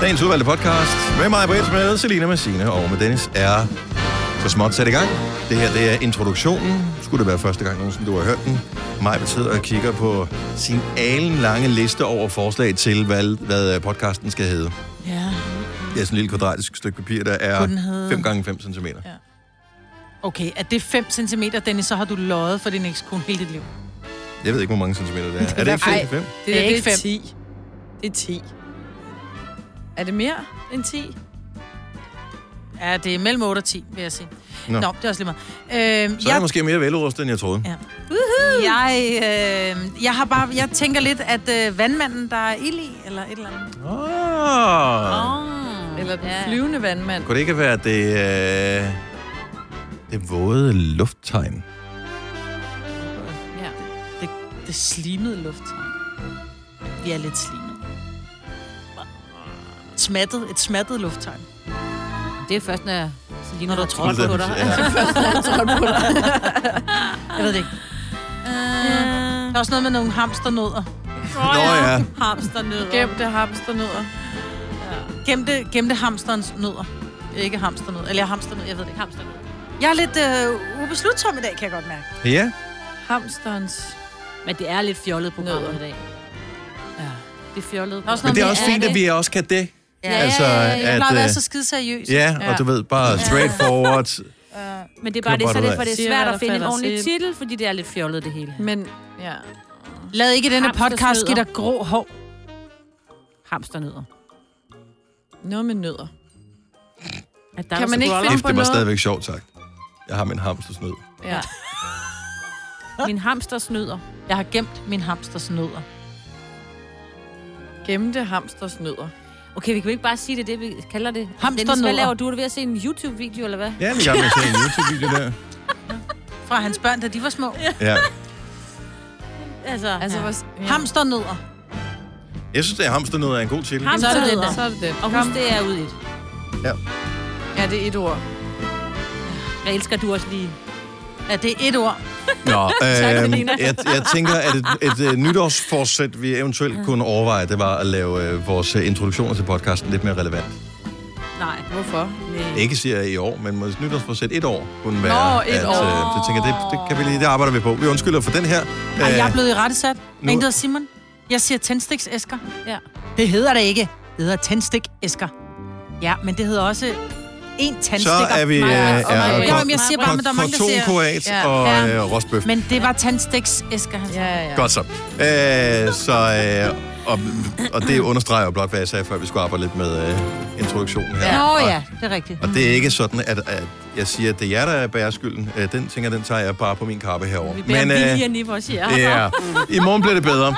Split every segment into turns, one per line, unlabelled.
Dagens udvalgte podcast med mig, Britt, med Selina Massine og med Dennis er så småt sat i gang. Det her det er introduktionen. Skulle det være første gang nogensinde, du har hørt den. Maj sidder og kigger på sin alenlange liste over forslag til, hvad, hvad podcasten skal hedde.
Ja.
Det er sådan et lille kvadratisk stykke papir, der er
Kunne den hedde-
5 gange 5 cm. Ja.
Okay, er det 5 cm, Dennis, så har du løjet for din ekskone hele dit liv.
Jeg ved ikke, hvor mange centimeter det er. er det ikke 5 5?
Det, er ikke 5.
10. Det er 10. Er det mere end 10?
Ja, det er mellem 8 og 10, vil jeg sige.
Nå.
Nå, Nå det er også lige meget. Øhm,
Så er jeg måske mere velrustet, end jeg troede.
Ja. Jeg, øh, jeg, har bare, jeg tænker lidt, at øh, vandmanden, der er ild i, eller et eller andet.
Ah.
Oh,
Eller den
ja.
ja. flyvende vandmand?
Kunne det ikke være det, øh, det våde lufttegn?
Ja. Det, det slimede luft. Vi er lidt slimet. Smattet, et smattet lufttegn.
Det er først, når jeg så lige når der er
Skulle
trådt
det
på
da-
dig.
Ja.
Jeg ved det ikke. Der er også noget med nogle hamsternødder.
Nå ja,
Hamsternødder. Gem,
Gemte hamsternødder.
gemte, gemte hamsterens nødder. Ikke hamsternødder. Eller hamsternødder, jeg ved det ikke.
Hamster.
Jeg er lidt øh, ubeslutsom i dag, kan jeg godt mærke.
ja.
Hamsterens...
Men det er lidt fjollet program
Nødder.
i dag. Det er fjollet.
også
program.
Men det er også fint, at vi også kan det.
Ja,
Altså,
Jeg
at,
plejer at være
øh,
så skide seriøs.
ja, og du ved, bare straightforward.
Men det er bare det, så
Kører bare
det,
derudad.
for det er
Siger
svært
jeg,
at
der
finde en
falder
ordentlig
sind.
titel, fordi det er lidt fjollet det hele.
Men, ja.
Lad ikke denne podcast give
Hamstersnødder.
dig grå hår.
Hamsternødder.
Noget med nødder.
At der
Kan man
er så
ikke
boller.
finde-
Kæft, det var
noget.
stadigvæk sjovt sagt. Jeg har min hamstersnød.
Ja.
Min hamster snyder.
Jeg har gemt min hamsters nødder.
Gemte hamstersnødder.
Okay, vi kan jo ikke bare sige det, er det vi kalder det.
Hamsternødder.
Dennis, hvad laver du? Er du ved at se en YouTube-video, eller hvad?
Ja, det gør man til en YouTube-video der.
Fra hans børn, da de var små. Ja.
Ja.
Altså,
Altså,
ja.
ja. ja.
Hamsternødder.
Jeg synes, det er hamsternød er en god titel.
Ham- Så er det den der.
Så er det den.
Og husk, det er ud i et.
Ja, det er et ord.
Jeg elsker, at du også lige...
Ja, det er et ord.
Nå, øhm, jeg, jeg tænker, at et, et, et nytårsforsæt, vi eventuelt kunne overveje, det var at lave øh, vores øh, introduktioner til podcasten lidt mere relevant.
Nej. Øh,
Hvorfor?
Ikke siger jeg i år, men måske nytårsforsæt et år kunne være.
Nå, et
at,
år.
Øh, det tænker jeg, det, det, kan vi lige, det arbejder vi på. Vi undskylder for den her.
Ej,
Øh,
jeg er blevet i rettesat.
nu-
Men det Simon. Jeg siger tændstiksæsker.
Ja.
Det hedder det ikke. Det hedder tændstikæsker. Ja, men det hedder også en tandstikker.
så er vi... Øh,
Nej, nej, og mig.
Jo, men jeg siger bare, men der er mange, der siger-
Kortonkoat
Ja.
og
Ja.
øh, rostbøf.
Men det var tandstiksæsker, han sagde.
Ja, ja.
Godt så. Øh, så øh, og, og det understreger jo blot, hvad jeg sagde før, vi skulle arbejde lidt med øh, introduktionen her.
Nå
Og-
ja, det er rigtigt.
Og det er ikke sådan, at, at jeg siger, at det er jer, der er bærer skylden. Øh, den tænker, den tager jeg bare på min kappe herover.
Vi bærer viljen i vores hjerte.
ja, øh, i morgen bliver det bedre.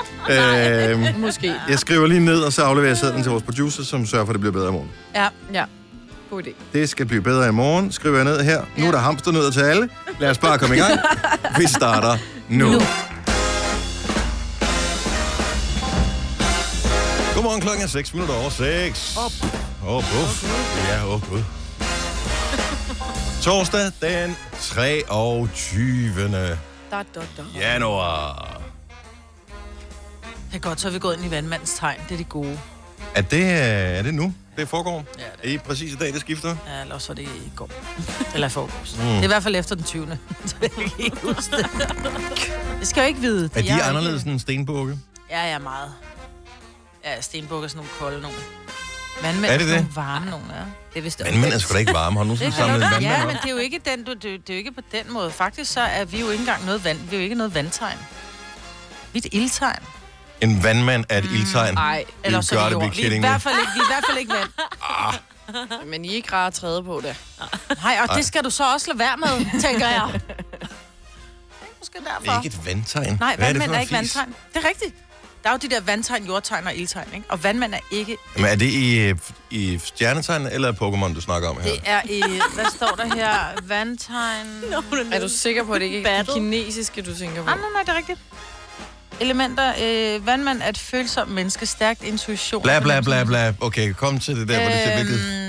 Øh,
Måske.
jeg skriver lige ned, og så afleverer jeg sædlen til vores producer, som sørger for, at det bliver bedre i morgen.
Ja.
Ja. God idé.
Det skal blive bedre i morgen, skriver jeg ned her. Nu er der hamsternødder til alle. Lad os bare komme i gang. Vi starter nu. nu. Godmorgen, klokken er 6 minutter over 6. Op. Åh, oh, buff. Ja, åh, oh, gud. Torsdag den 23.
Mm.
Da, da, da.
januar.
Det er godt, så er vi gået ind i vandmandens tegn. Det er det gode.
Er det, øh, er det nu, det foregår? Ja, det er. I præcis i dag, det skifter?
Ja, eller også var det i går. Eller i forgårs. Mm. Det er i hvert fald efter den 20. Så jeg kan ikke huske det. det skal jeg jo ikke vide.
Er de
Jeg
anderledes end stenbukke?
Ja, jeg er meget. Ja, stenbukker sådan nogle kolde nogle. Vandmænd
Er det
sådan
det?
nogle varme nogle, ja.
Det er vist også.
Vandmænd er sgu da ikke varme. Har du nogensinde samlet en vandmand
Ja,
op?
men det er jo ikke, den, du, det, det er jo ikke på den måde. Faktisk så er vi jo ikke engang noget vand. Vi er jo ikke noget vandtegn. Vi er et ildtegn.
En vandmand er et ildtegn.
Ej,
Mm, Eller
You
så er
gotta
vi
be
jord. Vi er, i
kidding me. Ah,
hvert fald ikke, vi er i hvert fald ikke vand.
men I er ikke rare at træde på det.
Nej, og det skal du så også lade være med, tænker jeg. Det er Måske
Det er
derfor.
ikke et vandtegn.
Nej,
Hvad er
vandmænd
det for
er,
noget
ikke
fis?
vandtegn. Det er rigtigt. Der er jo de der vandtegn, jordtegn og ildtegn, ikke? Og vandmand er ikke...
Jamen, er det i, øh, i stjernetegn eller Pokémon, du snakker om her?
Det er i... Hvad står der her? Vandtegn... No.
Ah, Er du sikker på, at det ikke er
Battle.
det kinesiske, du tænker på?
Ah, nej, nej, det er rigtigt. Elementer. Øh, vandmand er et følsomt menneske, stærkt intuition.
Bla, bla, bla, bla. Okay, kom til det der, hvor det ser
Øhm,
virkelig...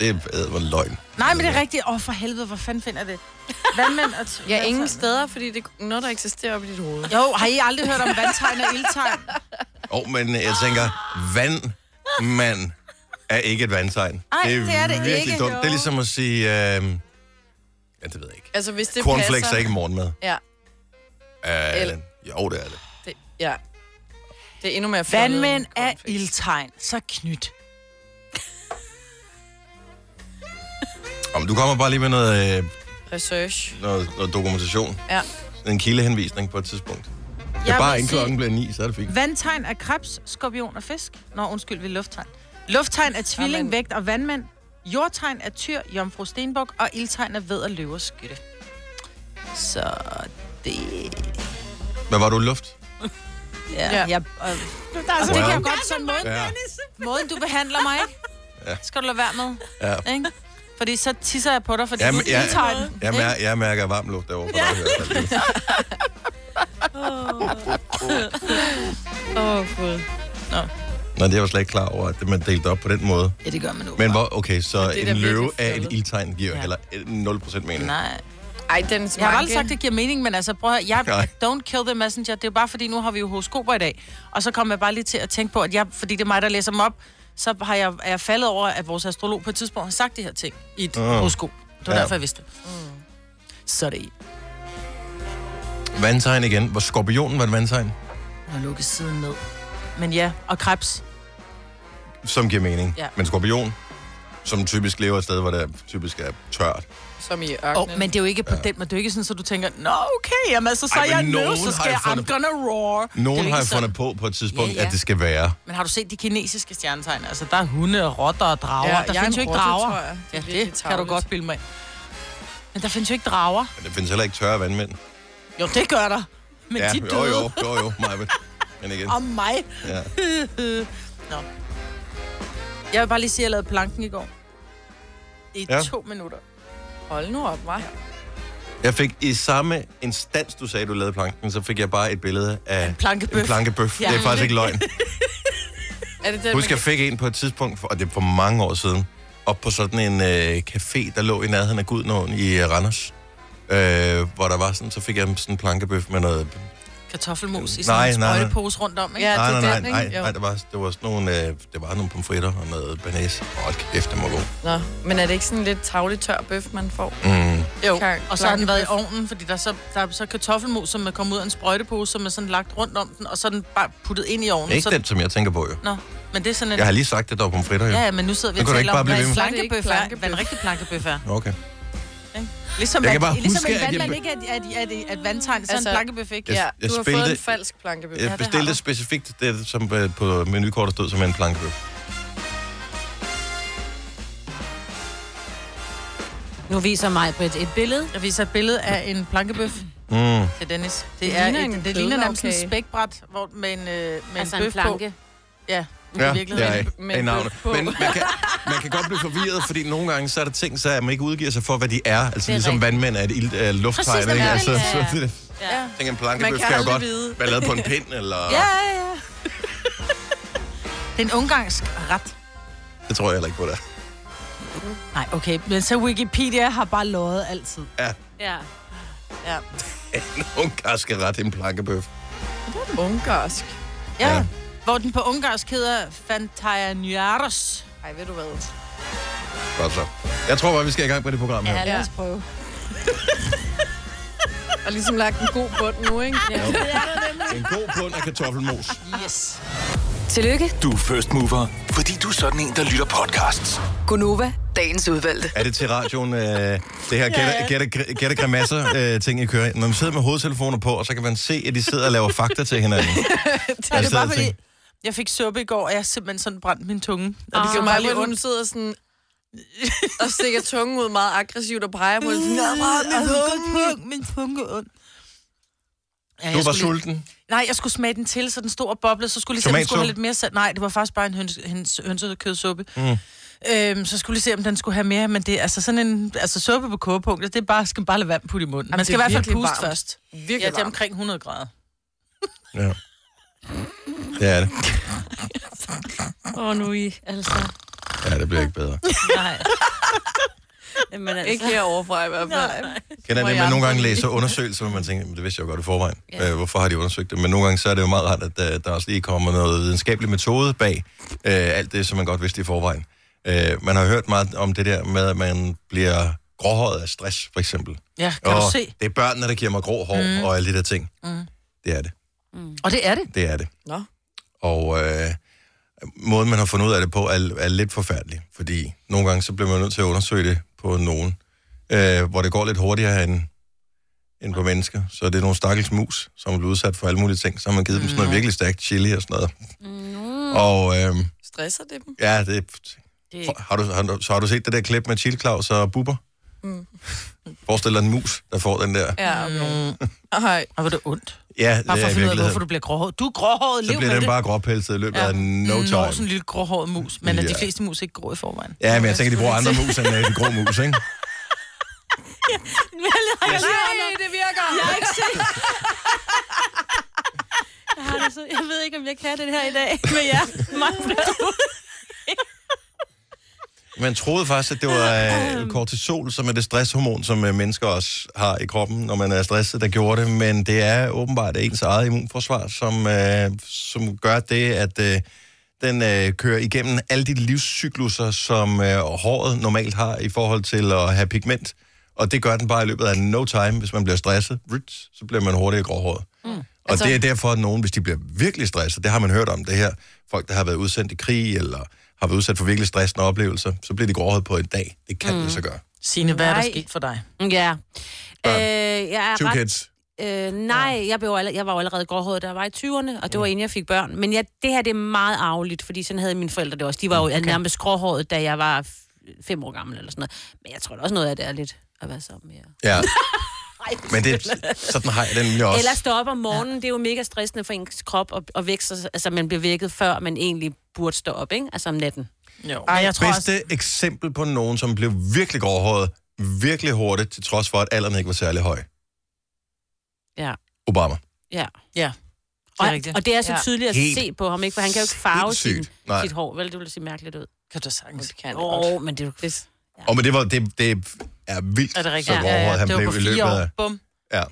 Det er æder, hvor løgn.
Nej, men det er rigtigt. Åh, oh, for helvede, hvor fanden finder jeg det? Vandmænd og... T-
Ja, ingen steder, fordi det er noget, der eksisterer op i dit hoved.
Jo, har I aldrig hørt om vandtegn og ildtegn?
Åh, oh, men jeg tænker, vand mand er ikke et vandtegn.
Ej, det er det
virkelig
ikke.
Dumt. Det er ligesom at sige... Øh... Ja, det ved jeg ikke.
Altså, hvis det
Cornflakes
passer...
er ikke morgenmad.
Ja,
Øh,
Eller-
jo, det er det.
det, ja. Det er endnu mere fjollet end
Vandmænd er
cornflakes.
ildtegn, så knyt.
Om du kommer bare lige med noget, øh,
Research.
noget, noget dokumentation.
Ja.
En kildehenvisning på et tidspunkt. Det er
Jeg
bare
vil
inden
sige-
klokken bliver ni, så er det fint.
Vandtegn er krebs, skorpion og fisk. Nå, undskyld, vi er lufttegn. Lufttegn er tvilling,
Amen.
vægt og vandmænd. Jordtegn er tyr, jomfru stenbuk, og ildtegn er ved og løver skytte. Så det...
Hvad var du luft?
Ja,
Ja.
ja. Jeg, øh,
Der er
så- Wow. det kan jeg
godt sådan måde.
Ja.
Måden, du behandler mig,
Ja.
ja. skal du lade være med.
Ja.
Ikke? Fordi så tisser jeg på dig, fordi
Jamen,
du er
ja.
ildtegn.
Jeg, mær- jeg mærker varm luft derovre. Ja. Dig, i hvert fald.
Åh, oh, gud.
Nå, det er jeg jo slet ikke klar over, at man delte op på den måde.
Ja, det gør man nu.
Men hvor, okay, så
det er da
en løve
virkelig
af et
fjollet.
ildtegn giver
Ja.
heller 0% mening.
Nej.
Ej, den smanke.
Jeg har aldrig sagt, at det giver mening, men altså, prøv at høre, jeg,
Nej.
don't kill the messenger, det er jo bare fordi, nu har vi jo horoskoper i dag, og så kom jeg bare lige til at tænke på, at jeg, fordi det er mig, der læser dem op, så har jeg, er jeg faldet over, at vores astrolog på et tidspunkt har sagt de her ting i et
Åh.
uh. horoskop. Det var
Ah.
ja.
Ja.
derfor, jeg vidste det. Mm. Så er det i.
Vandtegn igen. Hvor skorpionen var et vandtegn,
Nu lukke siden ned. Men ja, og krebs.
som giver mening.
Ja.
Men skorpion, som typisk lever et sted, hvor der typisk er tørt.
Som i
Oh,
ørkenen.
men det er jo ikke på ja. den måde. Det er jo ikke sådan, så du tænker, nå okay, jamen, altså, så
Ej,
er jeg
men nogen
nød, så
har
skal
jo
jeg,
fundet-
I'm gonna roar. Det er
Nogen
jo
har
ikke sådan.
fundet på på et tidspunkt,
Ja, ja.
at det skal være.
Men har du set de kinesiske stjernetegn? Altså, der er hunde og rotter og drager.
Ja,
Ja, der
jeg er
findes jo
en
ikke
rotte,
drager.
tror jeg. Det er
ja,
virkelig
det kan du
tarveligt.
godt bilde mig ind. Men der findes jo ikke drager.
Men det findes heller ikke tørre vandmænd.
Jo, det gør der. Men
ja,
de
jo,
døde
jo, jo, jo, Maja. Men igen.
om mig.
Ja.
Nå. Jeg vil bare lige sige, at jeg lavede planken i går. I
Ja.
ja. to minutter.
Hold nu op, hva'?
Jeg fik i samme instans, du sagde, du lavede planken, så fik jeg bare et billede af en
plankebøf.
En plankebøf. Ja.
Ja.
Det er faktisk ikke løgn.
Er det den,
Husk,
man
jeg fik en på et tidspunkt, for, og det er for mange år siden, op på sådan en øh, café, der lå i nærheden af Gudnåen i øh, Randers. Øh, hvor der var sådan, så fik jeg sådan en plankebøf med noget...
Kartoffelmos i
Nej,
sådan en
nej, nej.
sprøjtepose rundt om, ikke?
Ja.
Ja.
nej,
det er
nej,
den,
nej,
ikke?
nej,
Jo.
nej, der var, der var sådan nogle, øh, der var nogle pomfritter og noget banæs. Hold kæft, det må gå.
Nå, men er det ikke sådan en lidt tavlig tør bøf, man får?
Mm.
Jo,
Kan-
og så har den været i
plankebøf.
ovnen, fordi der er så, der er så kartoffelmos, som er kommet ud af en sprøjtepose, som er sådan lagt rundt om den, og så er den bare puttet ind i ovnen.
Ikke
så...
den, som jeg tænker på, jo.
Nå, men det er sådan en...
Jeg har lige sagt, at der var pomfritter, jo.
Ja, ja, men nu sidder vi
Nu
og
kan du ikke
taler
bare
om,
blive
hvad en
ved med-
Så er
plankebøf
det ikke
er,
plankebøf.
hvad en rigtig plankebøf er.
Okay.
Ligesom,
Jeg kan
at-
bare
ligesom
huske,
en
at jeg
vandmand
be-
ikke er, er, er, er, er vandtegn, så
Altså-
altså, en plankebøf ikke.
Jeg-
Ja,
jeg
du har
spillede-
fået en falsk plankebøf.
Jeg
har
bestilte
du.
specifikt det, som øh, på menukortet stod som en plankebøf.
Nu viser mig på et, et billede.
Jeg viser et billede af en plankebøf
Mm.
til Dennis. Det,
Det
det er
ligner
ligner, et,
en
det ligner nærmest
kødlavkage.
en spækbræt hvor, med en, øh, med
Altså
en
en
bøf på.
planke.
Ja, men
Ja,
i virkeligheden.
det er ikke.
med
Men, navnet.
bøf på.
men man, kan, man kan godt blive forvirret, fordi nogle gange så er der ting, så man ikke udgiver sig for, hvad de er. Altså
er
ligesom
rigtigt.
vandmænd er et ild, øh, lufttegn.
Præcis,
ikke?
ja,
altså,
ja, ja.
Så,
Ja.
ja. Tænk, en
Man
plankebøf
kan
kan jo
aldrig
godt
vide.
være lavet på en pind, eller...
Ja, ja, ja. Det er en ungarsk ret.
Det tror jeg heller ikke på det. er.
Nej, okay. Men så Wikipedia har bare lovet altid.
Ja.
Ja.
En ungarsk er ret en plankebøf.
Ungarsk.
ja.
Ja.
ja. Hvor den på ungarsk hedder Fantajanyaros.
Ej, ved du hvad?
Godt så. Jeg tror bare, vi skal i gang på det program her.
lad os
prøve.
Og ligesom lagt en god bund nu, ikke? Ja.
En god bund af kartoffelmos.
Yes.
Tillykke,
Du er first mover, fordi du er sådan en, der lytter podcasts.
Mm. Gunova, dagens udvalgte.
Er det til radioen, øh, det her gætte-grimasser-ting, øh, I kører? Når man sidder med hovedtelefoner på, og så kan man se, at de sidder og laver fakta til hinanden.
Ja, det
sidder
er
og
bare fordi,
tænker-
jeg fik suppe i går, og jeg simpelthen sådan brændte min tunge. Og
Ah.
det gjorde mig lidt
hun
ondt.
sidder sådan og stikker tungen ud meget aggressivt og peger mod
Mm,
den. Nå, meget med
tunge, min tunge er ond. Ja,
Du
jeg
var
skulle lige-
sulten.
Nej, jeg skulle smage den til, så den stod og boblede. Så skulle jeg lige se, om den skulle have
Tomatsuppe?
lidt mere salt. Nej, det var faktisk bare en høns, høns, hønsekødsuppe. Mm. Øhm, så skulle jeg lige se, om den skulle have mere. Men det er altså sådan en altså, suppe på kogepunktet. Det er bare, skal bare lade vand putte i munden. Man
det
skal
er
i hvert fald
virkelig
puste
varmt.
først. Ja,
Virkelig
det er omkring 100 grader.
Ja. Det er det.
Åh, nu i, altså.
Ja, det bliver ikke bedre.
Nej. Men altså,
Ikke herovre fra i hvert fald. Nej.
Kan det,
Hvor
man
jeg
nogle gange
andre-
læser undersøgelser, hvor man tænker, "Men det vidste jeg jo godt i forvejen. Ja. Øh, hvorfor har de undersøgt det? Men nogle gange så er det jo meget rart, at øh, der, der også lige kommer noget videnskabelig metode bag øh, alt det, som man godt vidste i forvejen. Øh, man har hørt meget om det der med, at man bliver gråhåret af stress, for eksempel.
Ja, kan du
Og
se?
Det er børnene, der giver mig grå hår mm. og alle de der ting. Mm. Det er det.
Og det er det.
Det er det.
Mm. Nå.
Og øh, måden, man har fundet ud af det på, er, er lidt forfærdelig. Fordi nogle gange, så bliver man nødt til at undersøge det på nogen. Øh, hvor det går lidt hurtigere end, end på mennesker. Så det er nogle stakkels mus, som er blevet udsat for alle mulige ting. Så har man givet dem sådan
Mm.
noget virkelig stærkt chili og sådan noget. Mm. Og øh,
Stresser det dem?
ja, det,
det,
har du, har, du- så har du set det der klip med Chili Claus og Bubber? Mm. Forestil dig en mus, der får den der.
Ja, okay. Mm. Ej,
Og var det ondt.
Ja,
Bare for at
i
finde ud af,
virkeligheden.
hvorfor du bliver gråhåret. Du er gråhåret,
så
lev
bliver
med
den
det. Mm,
bare gråpelset i løbet af no
Nå,
time.
sådan en lille gråhåret mus. Men yeah.
Ja.
de fleste mus er ikke grå i forvejen.
Ja, men jeg tænker, de bruger andre mus end øh, de grå mus, ikke?
Nej, det virker!
Jeg har ikke set. Jeg, har det så, jeg ved ikke, om jeg kan det her i dag med jer.
Man troede faktisk, at det var øh, kortisol, som er det stresshormon, som øh, mennesker også har i kroppen, når man er stresset, der gjorde det. Men det er åbenbart ens eget immunforsvar, som, øh, som gør det, at øh, den øh, kører igennem alle de livscykluser, som øh, håret normalt har i forhold til at have pigment. Og det gør den bare i løbet af no time. Hvis man bliver stresset, ryt, så bliver man hurtigere gråhåret. Mm. Og altså... det er derfor, at nogen, hvis de bliver virkelig stresset, det har man hørt om det her, folk, der har været udsendt i krig, eller har været udsat for virkelig stressende oplevelser, så bliver de gråhåret på en dag. Det kan mm. det så gøre.
Signe, hvad er der
Nej.
sket for dig?
Ja. Øh, jeg er
Two
ret
kids.
Øh, nej, jeg, blev allerede, jeg var jo allerede gråhåret, da jeg var i 20'erne, og det
Mm.
var inden jeg fik børn. Men jeg, det her, det er meget arveligt, fordi sådan havde mine forældre det også. De var
Mm,
jo okay. nærmest gråhåret, da jeg var f- fem år gammel eller sådan noget. Men jeg tror da også noget af det er lidt at være sammen med jer.
Ja. Men det, sådan har jeg den nemlig også.
Eller stå op om morgenen, ja. det er jo mega stressende for ens krop at, at vække sig. Altså, man bliver vækket, før man egentlig burde stå op, ikke? Altså om natten.
Jo. Ej, jeg tror også,
Bedste eksempel på nogen, som blev virkelig gråhåret, virkelig hurtigt, til trods for, at alderen ikke var særlig høj.
Ja.
Obama.
Ja.
Ja.
Og,
Det er rigtigt.
og det er så
Ja.
tydeligt at
Helt
se på ham, ikke? For han kan jo ikke farve sin,
sindssygt. Nej.
sit hår, vel? Det ville se mærkeligt ud.
Kan du sagtens.
Det kan jeg
Åh,
godt.
oh, men det er jo...
Og men det, var, det, det er vildt,
Er det
så
rigtigt?
gråhåret han
det var
blev
på
i løbet
fire år.
af...
Bum.
Ja. Men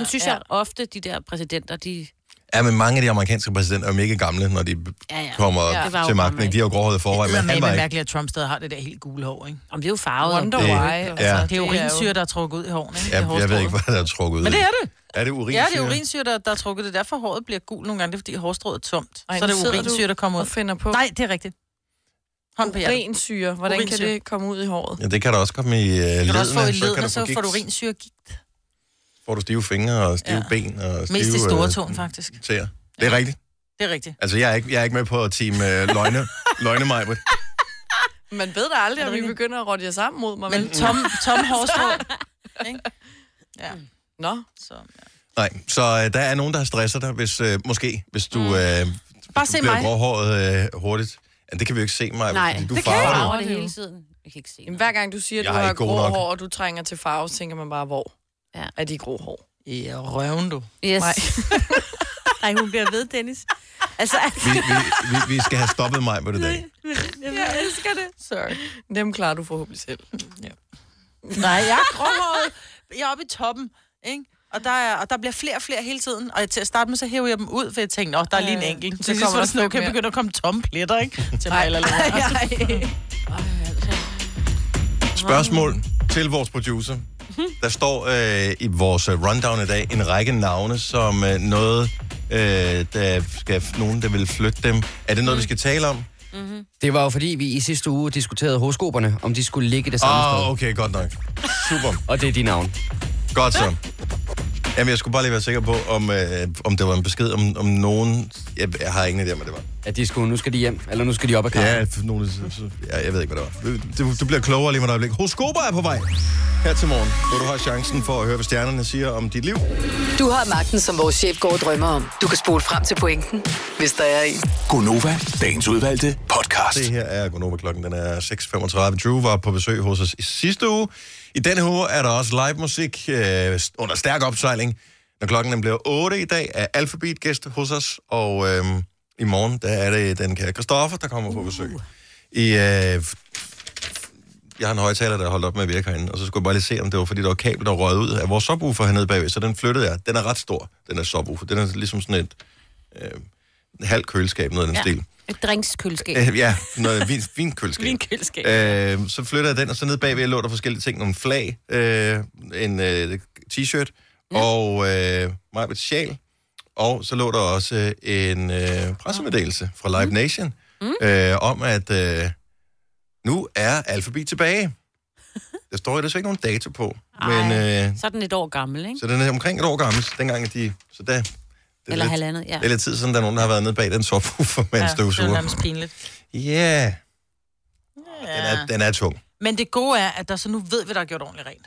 Ja,
ja, synes
ja.
jeg ofte, de der præsidenter, de...
Ja, men mange af de amerikanske præsidenter er mega gamle, når de
Ja, ja.
kommer
Ja. Det var
ja,
jo
til
Obama,
magten.
ikke?
De har jo gråhåret i forvejen, men han var ikke.
mærkeligt, at Trump stadig har det der helt gule hår, ikke? Altså,
Om det er jo farvet.
Wonder
Det-
why.
ja.
Det er urinsyre, der er trukket ud i hårene, ikke?
Jeg,
Det
jeg ved
hårstrået.
ikke, hvad der er trukket ud.
Men det er det.
Er det urin?
Ja, det er urinsyre, der, der er trukket. Det er derfor, håret bliver gul nogle gange. Det er, fordi hårstrået er tomt.
Ej,
så er
nu
det
sidder
urinsyre,
du
der kommer ud.
Og finder på
Nej, det er rigtigt. Hånd på hjertet.
urinsyre. Hvordan
Urinsyre.
kan det komme ud i håret?
Ja, det kan der også komme i øh, ledene.
Kan du også få i
så kan
leden,
du
og så
gigt.
får du urinsyregigt.
får du stive fingre og stive
Ja.
ja. ben og stive...
Mest i store
øh,
tåen, faktisk.
tæer. Det er rigtigt.
Det er rigtigt.
Altså, jeg er ikke, jeg er ikke med på team øh, løgne, løgne mig, men
Man ved da aldrig, om I
rigtigt?
begynder at rotte jer sammen mod mig.
Men
vel?
tom, tom hårstrå. ikke? Ja,
Mm. Nå,
så, ja.
Nej, så øh, der er nogen, der stresser dig, hvis, øh, måske, hvis du, øh,
Mm. Bare
du
se
bliver
mig.
gråhåret øh, hurtigt. Ja, det kan vi jo ikke se, mig,
Nej,
fordi du
det
det
kan jeg
farver
farver
det
det
jo.
hele tiden. Jeg kan ikke se
Jamen,
noget.
hver gang du siger, at
Jeg
du
er
har
ikke god
grå
nok.
hår, og du trænger til farve, så tænker man bare, hvor
Ja.
er de grå hår?
I røven, du.
Yes.
Nej.
Nej, hun bliver ved, Dennis. Altså,
det. Vi, vi, vi, vi skal have stoppet mig på det dag.
Jeg elsker det. Sorry. Dem klarer du forhåbentlig selv.
Nej, jeg er gråhåret. Jeg er oppe i toppen, ikke? Og der, er, og der bliver flere og flere hele tiden. Og til at starte med, så hæver jeg dem ud, for jeg tænkte, åh, der er lige en
Ja, ja.
enkelt.
Så
Så
kommer
kommer der
der
sådan,
lidt
okay,
mere.
begynder at komme tomme pletter, ikke? Til mig eller lidt.
Spørgsmål til vores producer. Der står øh, i vores øh, rundown i dag en række navne, som øh, noget, øh, der skal nogen, der vil flytte dem. Er det noget, vi skal tale om?
Mm. Mm-hmm. Det var jo fordi, vi i sidste uge diskuterede horoskoperne, om de skulle ligge det samme
Åh,
sted.
oh, okay, godt nok. Super.
Og det er de navn.
Godt så. Jamen, jeg skulle bare lige være sikker på, om, øh, om det var en besked om, om nogen... Jeg, jeg har ingen idé om, hvad det var.
At de skulle, nu skal de hjem, eller nu skal de op ad kampen.
Ja, for nogen, så- så- ja, jeg ved ikke, hvad det var. Du, du- du bliver klogere lige om et øjeblik. Horoskoper er på vej her til morgen, hvor du har chancen for at høre, hvad stjernerne siger om dit liv.
Du har magten, som vores chef går og drømmer om. Du kan spole frem til pointen, hvis der er en.
Gonova, dagens udvalgte podcast.
Det her er Gunova klokken, den er 6.35. Drew var på besøg hos os i sidste uge. I denne uge er der også live musik øh, under stærk opsejling. Når klokken den bliver 8 i dag, er Alphabet gæst hos os, og øh, i morgen der er det den kære Christoffer, der kommer på besøg. I, øh, f- jeg har en højtaler, der er holdt op med at virke herinde, og så skulle jeg bare lige se, om det var, fordi der var kabel, der røg ud af vores subwoofer hernede bagved, så den flyttede jeg. Den er ret stor, den er subwoofer. Den er ligesom sådan et øh, halvt køleskab, noget af den ja. stil.
Et drinkskøleskab.
Øh, ja, noget vin, vinkøleskab.
Vinkøleskab.
Øh, så flytter jeg den, og så nede bagved lå der forskellige ting. Nogle flag, øh, en øh, t-shirt og øh, Majbets sjal. Og så lå der også øh, en øh, pressemeddelelse fra
Mm.
Live Nation øh, om, at øh, nu er Alphabet tilbage. Der står jo desværre ikke nogen dato på, men øh,
Så er den et år gammel, ikke?
så den er omkring et år gammel, så dengang at de... Så der, det er
Eller
lidt,
halvandet, ja.
Det er lidt tid siden, der er nogen, der har været nede bag den sofa med en
det er
støvsuger.
nærmest pinligt.
Ja, yeah. den, er, den er tung.
Men det gode er, at der så nu ved vi, der er gjort ordentligt rent.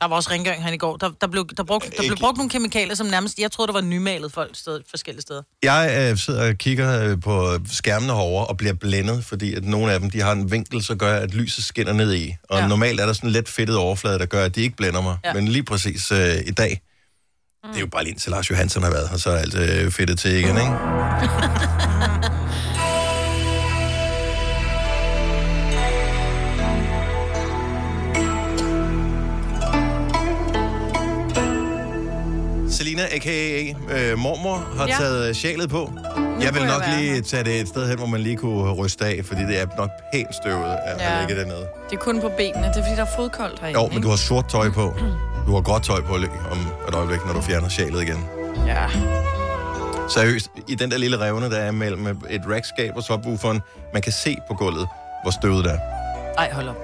Der var også rengøring her i går. Der, der, blev, der, brugte, der blev
Ikke-
brugt nogle kemikalier, som nærmest... Jeg troede, der var nymalet folk sted, forskellige steder.
Jeg øh, sidder og kigger øh, på skærmene herovre og bliver blændet, fordi at nogle af dem de har en vinkel, så gør, at lyset skinner ned i. Og ja.
Ja.
normalt er der sådan en let fedtet overflade, der gør, at de ikke blænder mig. Ja.
Ja.
Men lige præcis øh, i dag, mm. det er jo bare lige indtil Lars Johansson har været her, så er alt øh, fedtet til igen, ikke? Selina, a.k.a. Øh, mormor, har ja.
Ja.
taget øh, sjalet på. jeg vil
kunne jeg
nok
være
lige
her.
tage det et sted hen, hvor man lige kunne ryste af, fordi det er nok pænt støvet at ja.
Ja.
ligge dernede.
Det er kun på benene. Det er, fordi der er fodkoldt herinde.
Jo, men du har sort tøj på. Du har gråt tøj på lige om et øjeblik, når du fjerner sjalet igen.
ikke? Ja.
Seriøst, i den der lille revne, der er mellem et rackskab og subwooferen, man kan se på gulvet, hvor støvet det er.
Ej, hold op.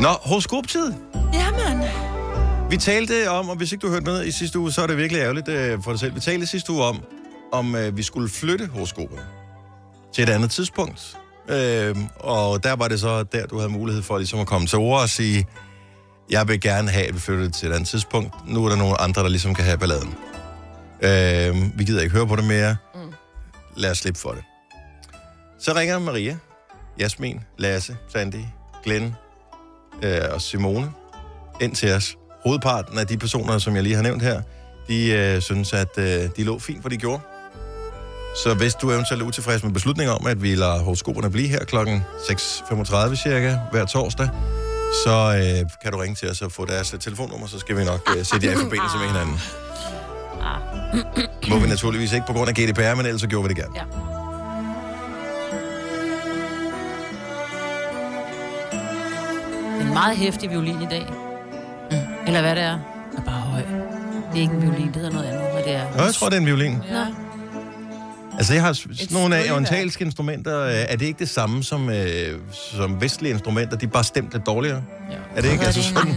Nå, horoskoptid.
Jamen.
Vi talte om, og hvis ikke du hørte med i sidste uge, så er det virkelig ærgerligt øh, for dig selv. Vi talte i sidste uge om, om øh, vi skulle flytte horoskoperne til et andet tidspunkt. Øh, og der var det så der, du havde mulighed for ligesom at komme til ord og sige, jeg vil gerne have, at vi flytter det til et andet tidspunkt. Nu er der nogle andre, der ligesom kan have balladen. Øh, vi gider ikke høre på det mere. Mm. Lad os slippe for det. Så ringer Maria, Jasmin, Lasse, Sandy, Glenn øh, og Simone ind til os. Hovedparten af de personer, som jeg lige har nævnt her, de øh, synes, at øh, de lå fint, hvad de gjorde. Så hvis du eventuelt er utilfreds med beslutningen om, at vi lader horoskoperne blive her kl. 6.35 cirka hver torsdag, så øh, kan du ringe til os og få deres øh, telefonnummer, så skal vi nok øh, sætte jer i forbindelse med hinanden. Må vi naturligvis ikke på grund af GDPR, men ellers så gjorde vi det gerne.
Ja. Det er en meget hæftig violin i dag. Eller hvad det er. Den Mm. er bare høj. Det er ikke en violin, det hedder noget andet, hvad det er.
Nå, jeg tror, det er en violin.
Nå.
Altså, jeg har s- sådan nogle af
strygeværk.
orientalske instrumenter. øh, Er det ikke det samme som, øh, som vestlige instrumenter? De er bare stemt lidt dårligere. Ja. Er det ikke? Altså, sådan...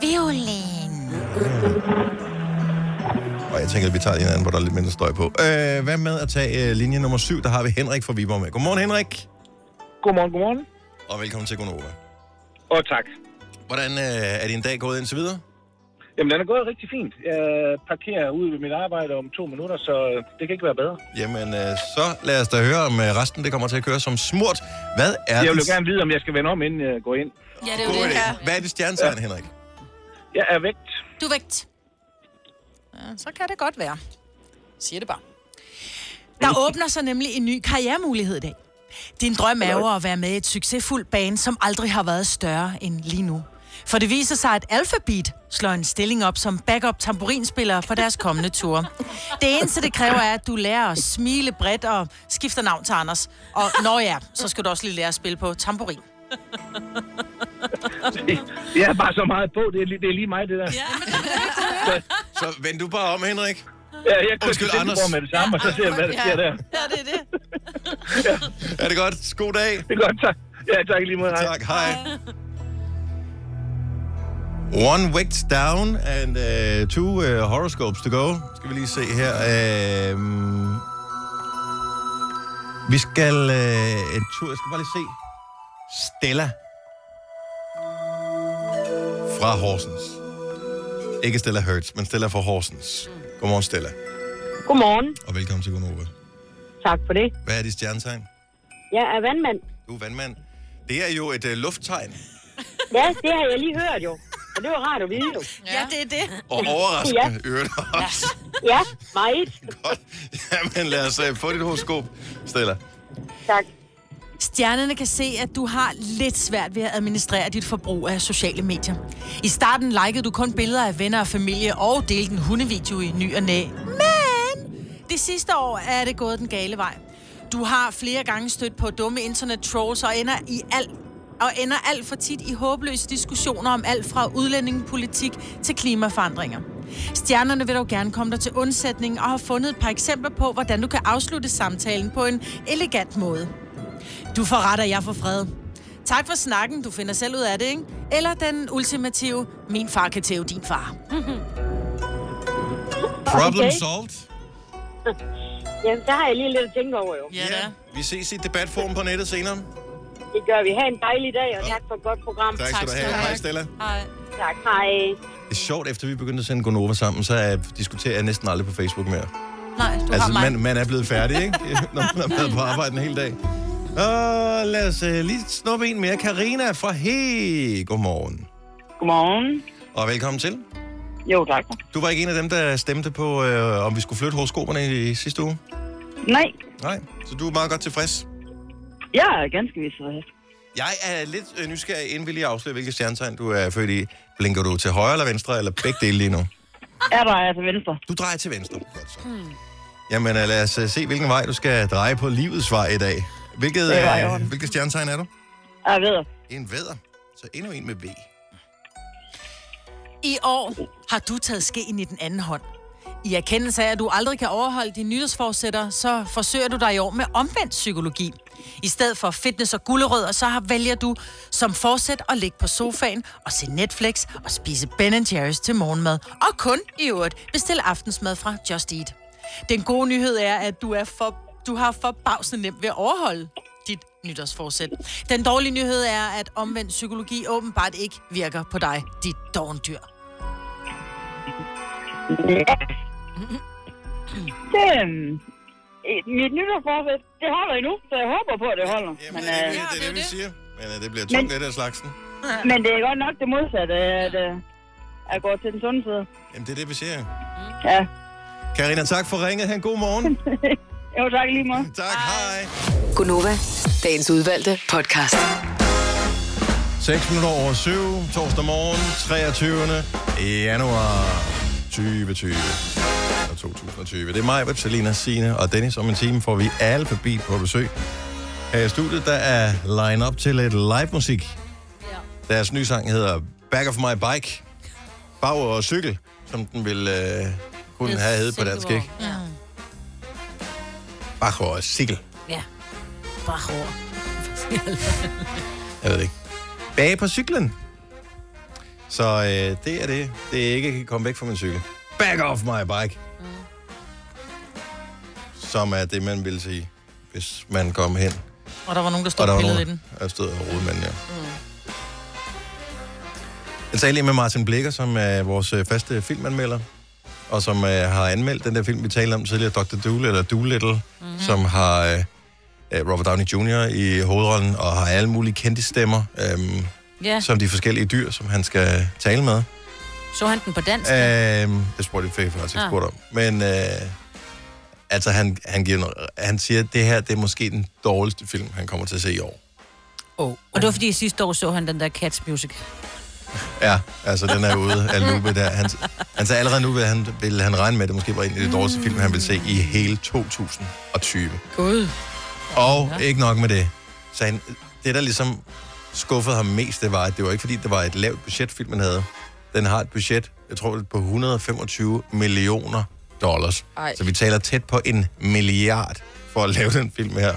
Violin.
Og jeg tænker, at vi tager en anden, hvor der er lidt mindre støj på. Øh, hvad med at tage øh, linje nummer 7? Der har vi Henrik fra Viborg med. Godmorgen, Henrik.
Godmorgen, godmorgen.
Og velkommen til Gonova.
Og oh, tak.
Hvordan øh, er din dag gået indtil videre?
Jamen, den er gået rigtig fint. Jeg parkerer ude ved mit arbejde om to minutter, så øh, det kan ikke være bedre.
Jamen, øh, så lad os da høre, om øh, resten det kommer til at køre som smurt. Hvad er
Jeg
den-
vil jo gerne vide, om jeg skal vende om, inden jeg går ind.
Ja, det er
God idé. Hvad er det stjernetegn, ja. Henrik?
Jeg er vægt.
Du er vægt.
Ja, Så kan det godt være. Siger det bare.
Der åbner sig nemlig en ny karrieremulighed i dag. Din drøm er jo at være med i et succesfuldt band, som aldrig har været større end lige nu. For det viser sig, at Alphabet slår en stilling op som backup tamburinspiller på deres kommende tour. Det eneste, det kræver, er, at du lærer at smile bredt og skifter navn til Anders. Og når ja, så skal du også lige lære at spille på tamburin.
Jeg er bare så meget på. Det er, lige- det er lige mig, det der. Ja,
Så vend du bare om, Henrik.
jeg kører
Undskyld,
til Silkeborg
Anders.
med det samme, og så ser jeg, hvad der sker der.
Ja, det er det.
Er det godt? God dag.
Det er godt, tak. Ja, tak lige måde. Hej.
Tak, hej. One wicked down and uh, two uh, horoscopes to go. Skal vi lige se her. Uh, vi skal uh, en tur. Jeg skal bare lige se. Stella. Fra Horsens. Ikke Stella Hertz, men Stella fra Horsens. Godmorgen, Stella.
Godmorgen.
Og velkommen til Gunova.
Tak for det.
Hvad er dit stjernetegn?
Jeg er vandmand.
Du er vandmand. Det er jo et uh, lufttegn.
Ja, det har jeg lige hørt jo. Og det var rart at vide jo.
Ja, det er det.
Og overraskende ja. øvrigt også.
Ja, meget.
øh, Godt. Jamen, lad os uh, få dit horoskop, Stella.
Tak.
Stjernerne kan se, at du har lidt svært ved at administrere dit forbrug af sociale medier. I starten likede du kun billeder af venner og familie og delte en hundevideo i ny og næ. Men det sidste år er det gået den gale vej. Du har flere gange stødt på dumme internet-trolls og ender i alt og ender alt for tit i håbløse diskussioner om alt fra udlændingepolitik til klimaforandringer. Stjernerne vil dog gerne komme dig til undsætning og har fundet et par eksempler på, hvordan du kan afslutte samtalen på en elegant måde. Du får ret, og jeg får fred. Tak for snakken, du finder selv ud af det, ikke? Eller den ultimative, min far kan tæve din far.
Problem
Okay.
solved.
Jamen, der har jeg lige lidt at tænke over, jo.
Ja, da.
Vi ses i debatforum på nettet senere.
Det gør vi. Ha' en dejlig dag, og tak for et godt program.
Tak skal du have. Hej Stella.
Tak. Hej.
Det er sjovt, efter vi begyndte at sende Gonova sammen, så uh, diskuterer jeg næsten aldrig på Facebook mere.
Nej, du altså, har
Altså,
mig.
man, man er blevet færdig, ikke? Når man har været på arbejde en hel dag. Og lad os uh, lige snuppe en mere. Karina fra He. Godmorgen.
Godmorgen.
Og velkommen til.
Jo, tak.
Du var ikke en af dem, der stemte på, øh, om vi skulle flytte horoskoperne i, i sidste uge?
Nej,
Nej. Så du er meget godt tilfreds?
jeg er ganske vist tilfreds.
Jeg er lidt øh, nysgerrig, inden vi lige afslører, hvilket stjernetegn du er født i. Blinker du til højre eller venstre, eller begge dele lige nu?
Er der altså venstre?
Du drejer til
Hmm.
venstre. Godt så. Jamen, øh, lad os øh, se, hvilken vej du skal dreje på livets vej i dag. Hvilket,
Det var i
øh,
orden.
hvilket stjernetegn er du?
Jeg ved.
En vædder. Så endnu en med V.
I år har du taget skeen i den anden hånd. I erkendelse af, at du aldrig kan overholde dine nytårsforsætter, så forsøger du dig i år med omvendt psykologi. I stedet for fitness og gulerødder, så har vælger du som forsæt at ligge på sofaen og se Netflix og spise Ben Jerry's til morgenmad. Og kun i øvrigt bestil aftensmad fra Just Eat. Den gode nyhed er, at du, er for, du har forbavsende nemt ved at overholde dit nytårsforsæt. Den dårlige nyhed er, at omvendt psykologi åbenbart ikke virker på dig, dit dovendyr.
Ja. Det, øhm, eh, mit nytårsforsæt, det holder endnu, så jeg håber på, at det holder. Men,
det,
øh,
det, det, det, det, vi siger. Men øh, det bliver tungt, det der slagsen.
men det er godt nok det modsatte, at øh, jeg går til den sunde side.
Jamen, det er det, vi siger.
Ja.
Karina, tak for ringet. Ha' en god morgen.
Jo, tak lige måde.
tak, hej.
Gunova, dagens udvalgte podcast.
6 minutter over 7, torsdag morgen, 23. januar 2020. Eller 2020. Det er mig, Selina, Sine og Dennis. Om en time får vi Alphabet på besøg. Her i studiet, der er line up til lidt live musik. Ja. Deres nye sang hedder Back of My Bike. Bag og cykel, som den vil øh, kunne have heddet på dansk, ikke?
Ja.
Bag og cykel.
ja. Bare hår.
Jeg ved det ikke. Bage på cyklen. Så øh, det er det. Det er ikke kan komme væk fra min cykel. Back off my bike. Mm. Som er det, man ville sige, hvis man kom hen.
Og der var nogen, der
Og
stod
der
og
var
pillede i
nogen,
den.
der stod og rodede med den, ja. Mm. Jeg talte lige med Martin Blikker, som er vores øh, faste filmanmelder, og som øh, har anmeldt den der film, vi talte om tidligere, Dr. Doolittle, eller Doolittle, mm-hmm. som har øh, øh, Robert Downey Jr. i hovedrollen, og har alle mulige kendte stemmer. Øhm,
Ja.
som de forskellige dyr, som han skal tale med.
Så han den på dansk? Øh.
Øhm, det spurgte jeg faktisk ikke
Ah.
spurgt om. Men øh, altså, han, han, giver, noget- han siger, at det her det er måske den dårligste film, han kommer til at se i år.
Og det var fordi sidste år så han den der Cats Music.
Ja, altså den er ude af loopet der. Han, han sagde allerede nu, vil han, vil han regne med, at det måske var en af de dårligste film, han vil se i hele 2020.
Gud.
Og ikke nok med det. Så han, det, der ligesom skuffede ham mest, det var, at det var ikke fordi, det var et lavt budget, filmen havde. Den har et budget, jeg tror, det er på 125 millioner dollars.
Ej.
Så vi taler tæt på en milliard for at lave den film her.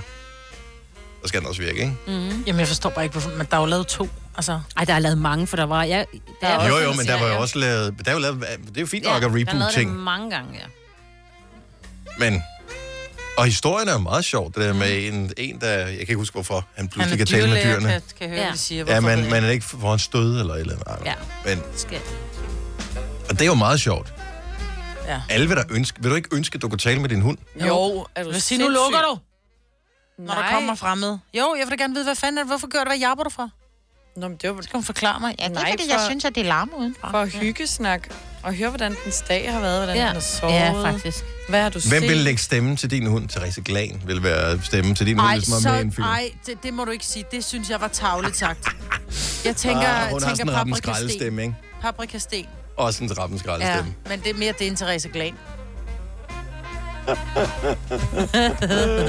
Så skal den også virke, ikke? Mm.
Jamen, jeg forstår bare ikke, hvorfor man der er jo lavet to. Altså,
Ej, der er lavet mange, for der var... Ja, der er
Jo,
også
jo,
en
men der var jo
serie.
også lavet... Der er jo lavet det er jo fint nok at
der lavede
reboot
det
ting,
mange gange, ja.
men... Og historien er jo meget sjov, det der med en, en der... Jeg kan ikke huske, hvorfor han pludselig kan tale med
dyrlæger,
dyrene.
Kan, kan høre,
Ja.
ja. de siger.
Ja,
Hvorfor
man,
ved
man er ikke for en stød eller et eller andet. Ej,
Ja.
Men
Skal.
Og det er jo meget sjovt.
Ja.
Alle vil, der ønske, vil du ikke ønske, at du kunne tale med din hund?
Jo, er du
jeg? Hvad siger, nu lukker du, når
Nej.
der kommer fremmed. Jo, jeg vil da gerne vide, hvad fanden er det? Hvorfor gør du, hvad jabber du for?
Nå, men det var
Kan hun forklare mig? Ja,
Nej, for-
at det larmer udenfor.
for hyggesnak. Og høre, hvordan dens dag har været, hvordan
Ja.
ja. den har sovet.
Ja, faktisk.
Hvad har du
Hvem
set?
vil lægge stemmen til din hund? Therese Glan vil være stemmen til din hund,
Ej,
hvis man er med i en
så,
film.
ej det, det, må du ikke sige. Det synes jeg var tavligt sagt. Jeg tænker,
Ah,
ah,
hun har sådan
tænker
en rappen
paprikasten.
skraldestemme, ikke?
Paprikasten.
Også en rappen
Ja,
skraldestemme.
men det er mere det end Therese Glan.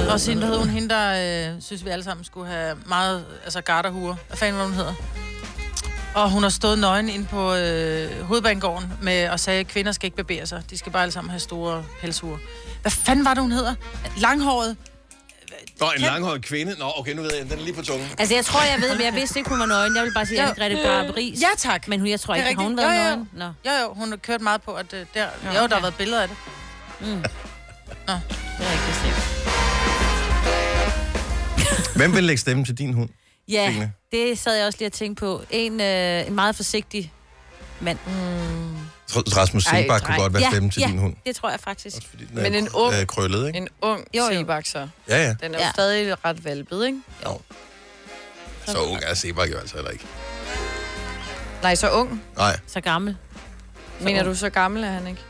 og sin, hvad hedder hun, hende, der øh, synes, vi alle sammen skulle have meget, altså garderhure. Hvad fanden, hvad hun hedder? Og hun har stået nøgen ind på øh, hovedbanegården med, og sagde, at kvinder skal ikke barbere sig. De skal bare alle sammen have store pelshure. Hvad fanden var det, hun hedder? Langhåret.
Ja. Og en langhåret kvinde. Nå, okay, nu ved jeg, den er lige på tungen.
Altså, jeg tror, jeg ved, men jeg vidste ikke, hun var nøgen. Jeg vil bare sige,
Jo.
at Grete Barberis.
Ja, tak.
Men hun, jeg tror
Det er
ikke, har hun
rigtigt.
været
Jo, jo.
nøgen. Nå.
Jo, jo, hun har kørt meget på, at øh, der, jo, der har været billeder af det.
Mm. Det er rigtigt sikkert.
Hvem vil lægge stemme til din hund?
Ja,
Signe.
det sad jeg også lige og tænkte på. En, øh, en meget forsigtig mand. Mm.
Jeg tror, Rasmus Sebak kunne
nej.
godt være
ja,
stemme til
ja,
din hund.
det tror jeg faktisk.
Også fordi den er
Men en
kr-
ung-
øh, krøllet, ikke?
En ung
Jo, jo.
sebak, så.
Ja, ja.
Den er jo
Ja.
stadig ret valpet, ikke?
Så ung er Sebak jo altså heller ikke.
Nej, så ung.
Nej,
Så gammel.
Mener du, så gammel er han ikke?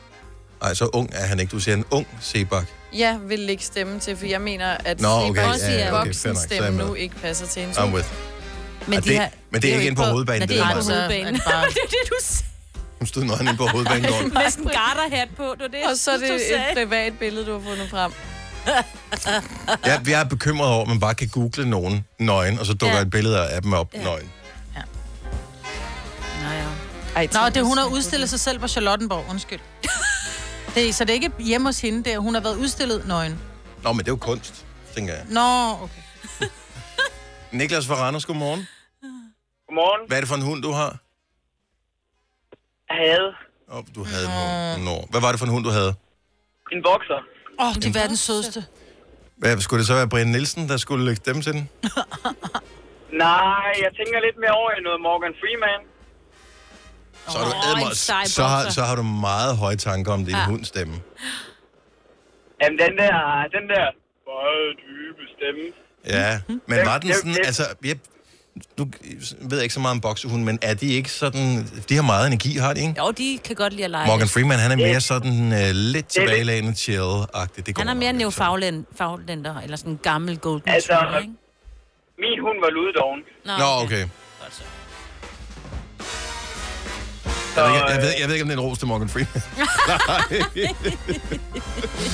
nej, så ung er han ikke. Du siger en ung Sebak.
Ja, vil lægge stemme til, for jeg mener, at
Nå, okay,
Sebaks
ja, ja, okay,
fair
voksen
nok, så er jeg
stemme
med.
nu ikke passer til en
I'm with.
Men,
Og det- men det er
jo
ikke inde på hovedbanen,
Nej, det
det
er
er
ikke på
mig.
hovedbanen.
Altså, at bare-
det er det, du sagde.
Hun stod nøgen inde på hovedbanegården.
Med sådan en garterhat på. Det var det,
Og så er
jeg synes,
det
du
et
sagde.
privat billede, du har fundet frem.
Ja, jeg er bekymret over, at man bare kan google nogen nøgen, og så dukker
Ja.
ja. et billede af dem op ja. nøgen.
Nej, ja.
Ej,
Nå, det er, hun har udstillet sig selv på Charlottenborg, undskyld. Det, er- så det er ikke hjemme hos hende, det er, hun har været udstillet nøgen.
Nå, men det er jo kunst, tænker jeg.
Nå, okay.
Niklas fra Randers, godmorgen.
Godmorgen.
Hvad er det for en hund, du har?
Jeg havde
Åh, oh, du havde en hund. Nå. Hvad var det for en hund, du havde?
en bokser.
Åh, oh, de var den sødeste.
Hvad, skulle det så være Brian Nielsen, der skulle lægge dem til den?
Nej, jeg tænker lidt mere over i noget Morgan Freeman.
Så har du,
Åh, en sej
oh, så, har,
bokser.
så har du meget høje tanker om din ja. hunds stemme.
Jamen, den der, den der meget dybe stemme.
Ja,
Mm-hmm.
men var den
Ja,
sådan,
ja.
altså, jeg, nu ved jeg ikke så meget om boksehunde, men er de ikke sådan, de har meget energi, har de ikke?
Jo, de kan godt lide at lege.
Morgan Freeman, han er mere sådan øh, lidt tilbagelænet chill-agtig. Det går
Han er
nok,
mere
altså.
neofaglænder, eller sådan en gammel golden
Altså,
retriever, ikke?
Min hund var luddoven.
Nå, okay.
Godt så.
Jeg ved, ikke-
øh,
jeg, ved, jeg ved ikke, om det er en ros til Morgan Freeman.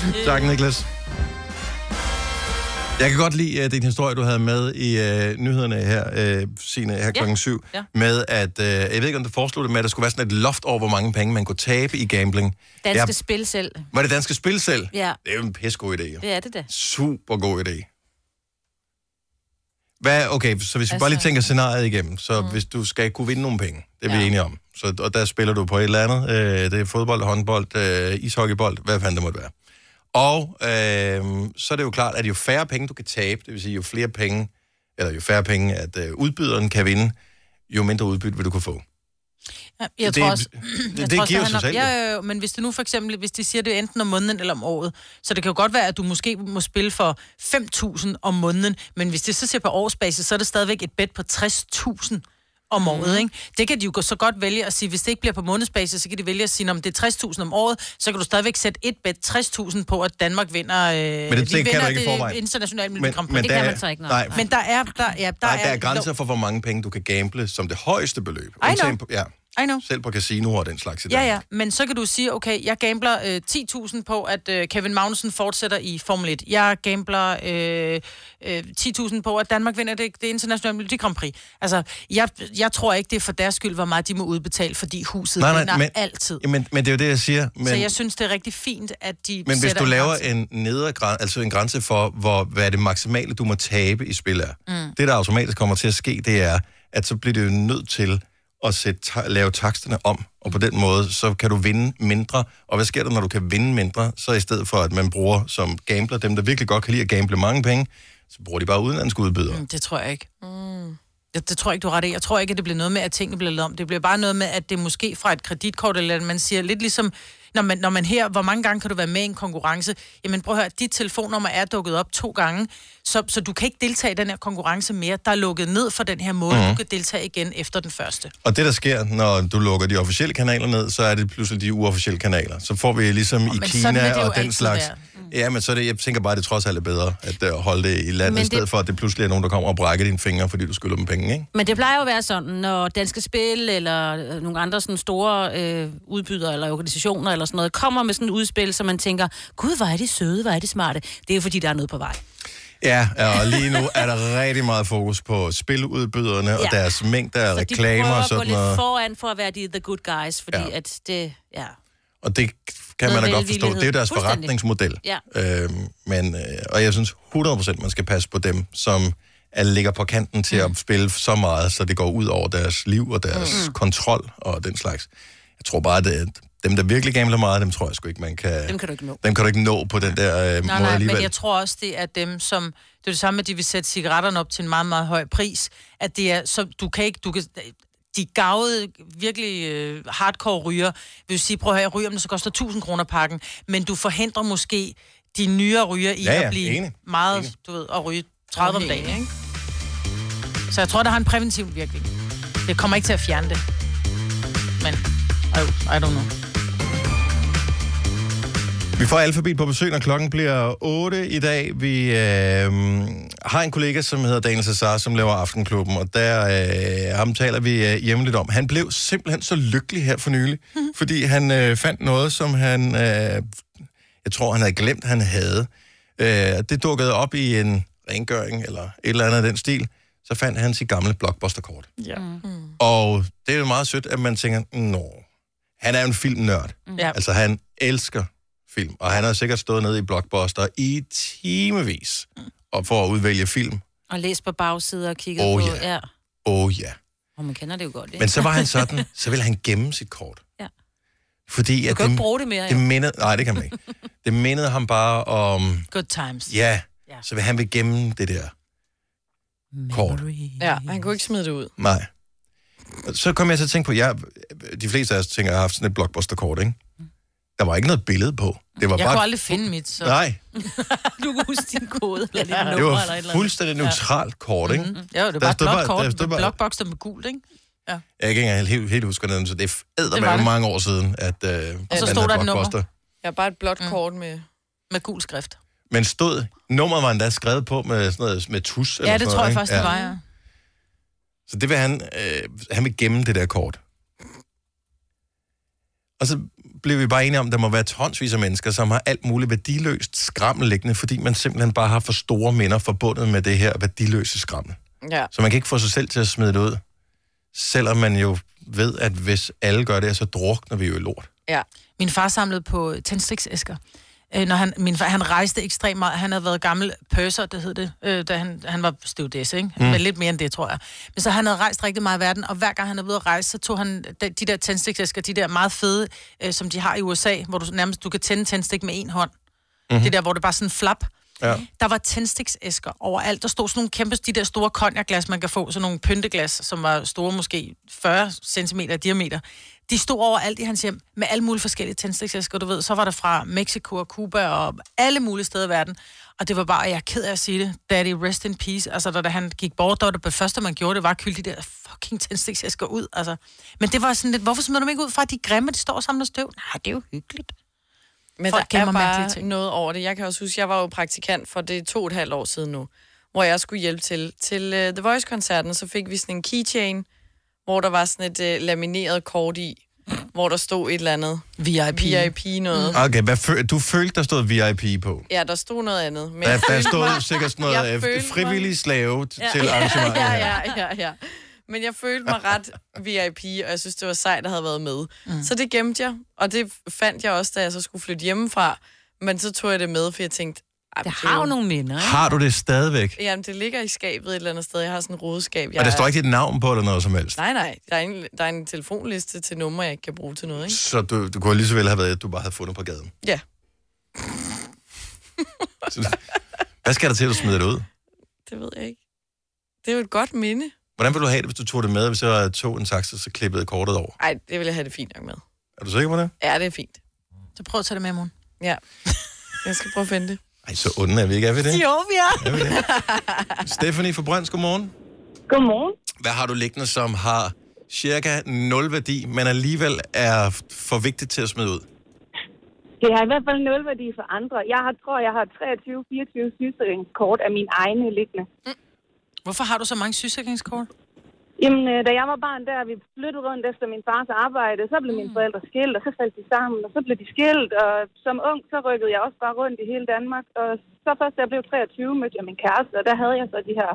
Øh.
Nej. tak, Niklas. Jeg kan godt lide uh, din historie, du havde med i uh, nyhederne her, uh, Signe, her klokken syv,
ja.
med at, uh, jeg ved ikke, om du foreslog det, men at der skulle være sådan et loft over, hvor mange penge man kunne tabe i gambling.
Danske
Jeg-
spil selv.
Var det danske spil selv?
Ja.
Det er jo en pissegod idé, jo.
Det er det da.
Super god idé. Hvad, okay, så hvis vi bare lige
Altså-
tænker scenariet igennem, så mm. hvis du skal kunne vinde nogle penge, det er vi
Ja.
enige om, så, og der spiller du på et eller andet, øh, det er fodbold, håndbold, øh, ishockeybold, hvad fanden det måtte være. Og øh, så er det jo klart, at jo færre penge du kan tabe, det vil sige jo flere penge, eller jo færre penge, at øh, udbyderen kan vinde, jo mindre udbytte vil du kunne få.
Ja, Jeg
Det-
tror også,
det-
jeg
det
tror også,
giver
det
sig
handler-
selv,
Ja, ja, ja, men hvis det nu for eksempel, hvis de siger det er enten om måneden eller om året, så det kan jo godt være, at du måske må spille for 5.000 om måneden, men hvis det så ser på årsbasis, så er det stadigvæk et bet på 60.000 om året,
Mhm.
ikke? Det kan de jo så godt vælge at sige, hvis det ikke bliver på månedsbasis, så kan de vælge at sige, om det er 60.000 om året, så kan du stadigvæk sætte et bet 60.000 på, at Danmark vinder, øh, men
det kan
vinder
du ikke i forvejen.
det internationale men, Grand Prix.
det kan man så ikke, nej.
Nej,
Men der er, der, ja, der,
Der, Nej, der er
er
grænser for, hvor mange penge du kan gamble som det højeste beløb.
know.
Undtagen på- Ja,
I know.
selv på casinoer og den slags i
Ja,
Danmark.
ja, men så kan du sige, okay, jeg gambler øh, 10.000 på, at øh, Kevin Magnussen fortsætter i Formel 1. Jeg gambler øh, øh, 10.000 på, at Danmark vinder det, det internationale Melodi Grand Prix. Altså, jeg, jeg tror ikke, det er for deres skyld, hvor meget de må udbetale, fordi huset nej, nej, vinder men, altid.
Men, men det er jo det, jeg siger. Men,
så jeg synes, det er rigtig fint, at de
men hvis
sætter
du
en
laver
grænse.
en nedre grænse, altså en grænse for, hvor, hvad det maksimale, du må tabe i spil er, mm. det, der automatisk kommer til at ske, det er, at så bliver det jo nødt til at sætte, ta- lave taksterne om, og på den måde, så kan du vinde mindre. Og hvad sker der, når du kan vinde mindre? Så i stedet for, at man bruger som gambler, dem, der virkelig godt kan lide at gamble mange penge, så bruger de bare udenlandske udbydere.
Mm, Det tror jeg ikke. Mm. Det, det tror jeg ikke, du har ret i. Jeg tror ikke, at det bliver noget med, at tingene bliver lavet om. Det bliver bare noget med, at det er måske fra et kreditkort, eller at man siger lidt ligesom Når man, når man her, hvor mange gange kan du være med i en konkurrence? Jamen prøv at høre, dit telefonnummer er dukket op to gange, så, så du kan ikke deltage i den her konkurrence mere. Der er lukket ned for den her måde, mm. du kan deltage igen efter den første.
Og det, der sker, når du lukker de officielle kanaler ned, så er det pludselig de uofficielle kanaler. Så får vi ligesom i
men sådan vil
Kina
det jo
og den
altid
slags.
være.
Mm. Ja, men så er det, jeg tænker bare, at det trods alt er bedre at øh, holde det i landet,
Men
i
det-
stedet for, at det pludselig er nogen, der kommer og brækker dine fingre, fordi du skylder dem penge, ikke?
Men det plejer jo at være sådan, når Danske Spil eller øh, nogle andre sådan store øh, udbydere eller organisationer eller sådan noget, kommer med sådan et udspil, så man tænker, gud, hvor er de søde, hvor er de smarte. Det er jo fordi, der er noget på vej.
Ja, og lige nu er der rigtig meget fokus på spiludbyderne ja. og
Ja.
deres mængder af
Så de
reklamer
prøver at
og
gå
sådan
lidt
noget.
foran for at være de the good guys, fordi
Ja.
ja. at det, ja.
Og det kan man da
Noget
godt forstå. Det er jo deres
velvillighed.
forretningsmodel.
Ja.
Øhm, men, øh, og jeg synes 100% man skal passe på dem, som er, ligger på kanten til
Mm.
at spille så meget, så det går ud over deres liv og deres mm. kontrol og den slags. Jeg tror bare, at øh, dem, der virkelig gambler meget, dem tror jeg sgu ikke, man kan...
Dem kan du ikke nå.
Dem kan du ikke nå på den der øh,
Nej,
måde
nej,
alligevel.
men jeg tror også, det er dem, som... Det er det samme, at de vil sætte cigaretterne op til en meget, meget høj pris. At det er... Så du kan ikke... Du kan, de gavede, virkelig øh, hardcore ryger, vil jo sige, prøv at høre, jeg ryger, men så koster 1000 kroner pakken, men du forhindrer måske de nyere ryger i
Ja, ja,
at blive
enig,
meget,
enig.
du ved, at ryge 30 om dagen, ikke? Så jeg tror, det har en præventiv virkning. Det kommer ikke til at fjerne det. Men, I, I don't know.
Vi får alfabet på besøg, når klokken bliver 8 i dag. Vi øh, har en kollega, som hedder Daniel Cesar, som laver Aftenklubben, og der øh, ham taler vi øh, jævnligt om. Han blev simpelthen så lykkelig her for nylig, fordi han øh, fandt noget, som han, øh, jeg tror, han havde glemt, han havde. Øh, det dukkede op i en rengøring eller et eller andet af den stil. Så fandt han sit gamle blockbusterkort.
Ja.
Mm. Og det er jo meget sødt, at man tænker, nå, han er jo en filmnørd.
Ja.
Altså, han elsker film, og han har sikkert stået nede i Blockbuster i timevis og for at udvælge film.
Og læs på bagsider og kigge
Åh,
på...
Oh, ja.
ja.
Åh oh, ja.
Og man kender det jo godt, ikke?
Men så var han sådan, så ville han gemme sit kort.
Ja.
Fordi
du
at
kan jo
det,
ikke bruge det mere,
det
jo.
mindede, nej, det kan man ikke. Det mindede ham bare om,
Good times.
ja,
Ja.
så vil han vil gemme det der kort.
Ja, og han kunne ikke smide det ud.
Nej. Så kom jeg til at tænke på, jeg, de fleste af os tænker, jeg har haft sådan et blockbuster-kort, ikke?
Mm.
Der var ikke noget billede på. Det var
Jeg
bare...
kunne aldrig finde mit, så...
Nej,
Du kan huske din kode eller dit nummer
det
eller et
var
eller andet.
fuldstændig neutralt kort, ikke? Mm-hmm.
Mhm. Ja, det var
Der
bare et
stod
blåt
bare- der
kort,
stod
med
bare-
blåt bokser med gult, ikke?
Jeg kan ikke engang helt, helt huske den, så det er
var
eddermame
det.
mange år siden, at øh,
Og så
den
stod
her
der et nummer. Mm.
blockbuster.
Jeg har bare et blåt kort med...
Med gul skrift.
Men stod, nummeret var endda skrevet på med sådan noget, med tus. eller
Ja,
sådan
det
noget,
tror jeg
ikke?
faktisk, det var, ja.
Så det vil han, øh, han vil gemme det der kort. Og så blev vi bare enige om, at der må være tonsvis af mennesker, som har alt muligt værdiløst skrammel liggende, fordi man simpelthen bare har for store minder forbundet med det her værdiløse skrammel.
Ja.
Så man kan ikke få sig selv til at smide det ud. Selvom man jo ved, at hvis alle gør det, så drukner vi jo i lort.
ja.
Min far samlede på tændstiksæsker. Øh, når han, min far, han rejste ekstremt meget. Han havde været gammel purser, det hed det, øh, da han, han var stewardess, ikke? Mm. Men lidt mere end det, tror jeg. Men så han havde rejst rigtig meget i verden, og hver gang han er blevet at rejse, så tog han de, de der tændstiksæsker, de der meget fede, øh, som de har i USA, hvor du nærmest du kan tænde en tændstik med en hånd.
Mhm.
Mm-hmm. Det der, hvor det bare er sådan en flap.
Ja.
Der var tændstiksæsker overalt. Der stod sådan nogle kæmpe, de der store konjakglas, man kan få, sådan nogle pynteglas, som var store måske 40 cm i diameter. De stod overalt i hans hjem med alle mulige forskellige tændstiksæsker, du ved. Så var der fra Mexico og Cuba og alle mulige steder i verden. Og det var bare, og jeg er ked af at sige det, daddy rest in peace. Altså, da, da han gik bort, der var det be- første, man gjorde, det var at kylde de der fucking tændstiksæsker ud. Altså. Men det var sådan lidt, hvorfor smider du dem ikke ud fra, at de er grimme, de står og samler støv? Nej, det er jo hyggeligt.
Men
Folk
Folk der er
gemmer mærkelige
bare
ting.
ting. noget over det. Jeg kan også huske, jeg var jo praktikant for det er to og et halvt år siden nu, hvor jeg skulle hjælpe til til uh, The Voice-koncerten, så fik vi sådan en keychain, hvor der var sådan et uh, lamineret kort i, hvor der stod et eller andet
VIP.
VIP noget.
Okay, hvad fø- du følte, der stod VIP på?
Ja, der stod noget andet. Men
Der,
jeg
der
følte
stod
mig-
sikkert sådan noget
jeg
øh,
følte mig-
frivillig slave t-
Ja.
til arrangementet.
ja,
her.
ja, ja, ja. Men jeg følte mig ret VIP, og jeg synes, det var sejt at have været med. Mm. Så det gemte jeg, og det fandt jeg også, da jeg så skulle flytte hjemmefra. Men så tog jeg det med, for jeg tænkte... "Ej,
Det
er
har jo nogle minder, ikke?
Har du det stadigvæk?
Jamen, det ligger i skabet et eller andet sted. Jeg har sådan en rodeskab. Jeg
Og der
er-
står ikke dit navn på eller noget som helst.
Nej, nej. Der er, en, der er en telefonliste til numre, jeg ikke kan bruge til noget, ikke?
Så du, du kunne lige så vel have været, at du bare havde fundet på gaden.
Ja.
Så- Hvad skal der til, at du smider det ud?
Det ved jeg ikke. Det er jo et godt minde.
Hvordan ville du have det, hvis du tog det med, hvis jeg tog en taxa, så klippede kortet over?
Nej, det vil jeg have det fint nok med.
Er du sikker på det?
Ja, det er fint.
Så prøv at tage det med i morgen.
Ja. Jeg skal prøve at finde det.
Ej, så onde er vi ikke, er vi det?
Jo, vi er.
Er vi det? Stephanie fra Brønds, godmorgen.
Godmorgen.
Hvad har du liggende, som har cirka 0 værdi, men alligevel er f- for vigtigt til at smide ud?
Det har i hvert fald nul værdi for andre. Jeg har, tror, jeg har 23-24 sygesikringskort af mine egne liggende.
Mm.
Hvorfor har du så mange sygesikringskort?
Jamen, øh, da jeg var barn der, vi flyttede rundt efter min fars arbejde, så blev
Mm.
mine forældre skilt, og så faldt de sammen, og så blev de skilt, og som ung, så rykkede jeg også bare rundt i hele Danmark, og så først, da jeg blev 23, mødte jeg min kæreste, og der havde jeg så de her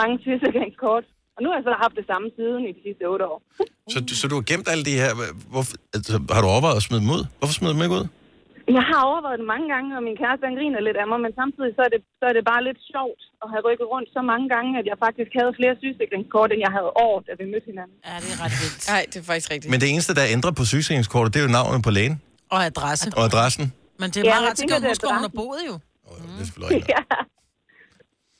mange sygesikringskort. Og nu har jeg så haft det samme siden i de sidste otte år.
Så, du- så du har gemt alle de her... Hvorfor, altså, har du overvejet at smide dem ud? Hvorfor smider du dem ikke ud?
Jeg har overvejet det mange gange, og min kæreste han griner lidt af mig, men samtidig så er, det, så er det bare lidt sjovt at have rykket rundt så mange gange, at jeg faktisk havde flere sygesikringskort, end jeg havde år, da vi mødte hinanden.
Ja, det er ret vildt.
Nej, det er faktisk rigtigt.
Men det eneste, der ændrer på sygesikringskortet, det er jo navnet på lægen
Og
Altså-
adresse.
og adressen.
Men det er
Ja,
meget
jeg
ret
tænker,
skønt,
det er
husk, hvor hun har
adressen.
boet jo.
Oh, det er selvfølgelig rigtigt.
Ja.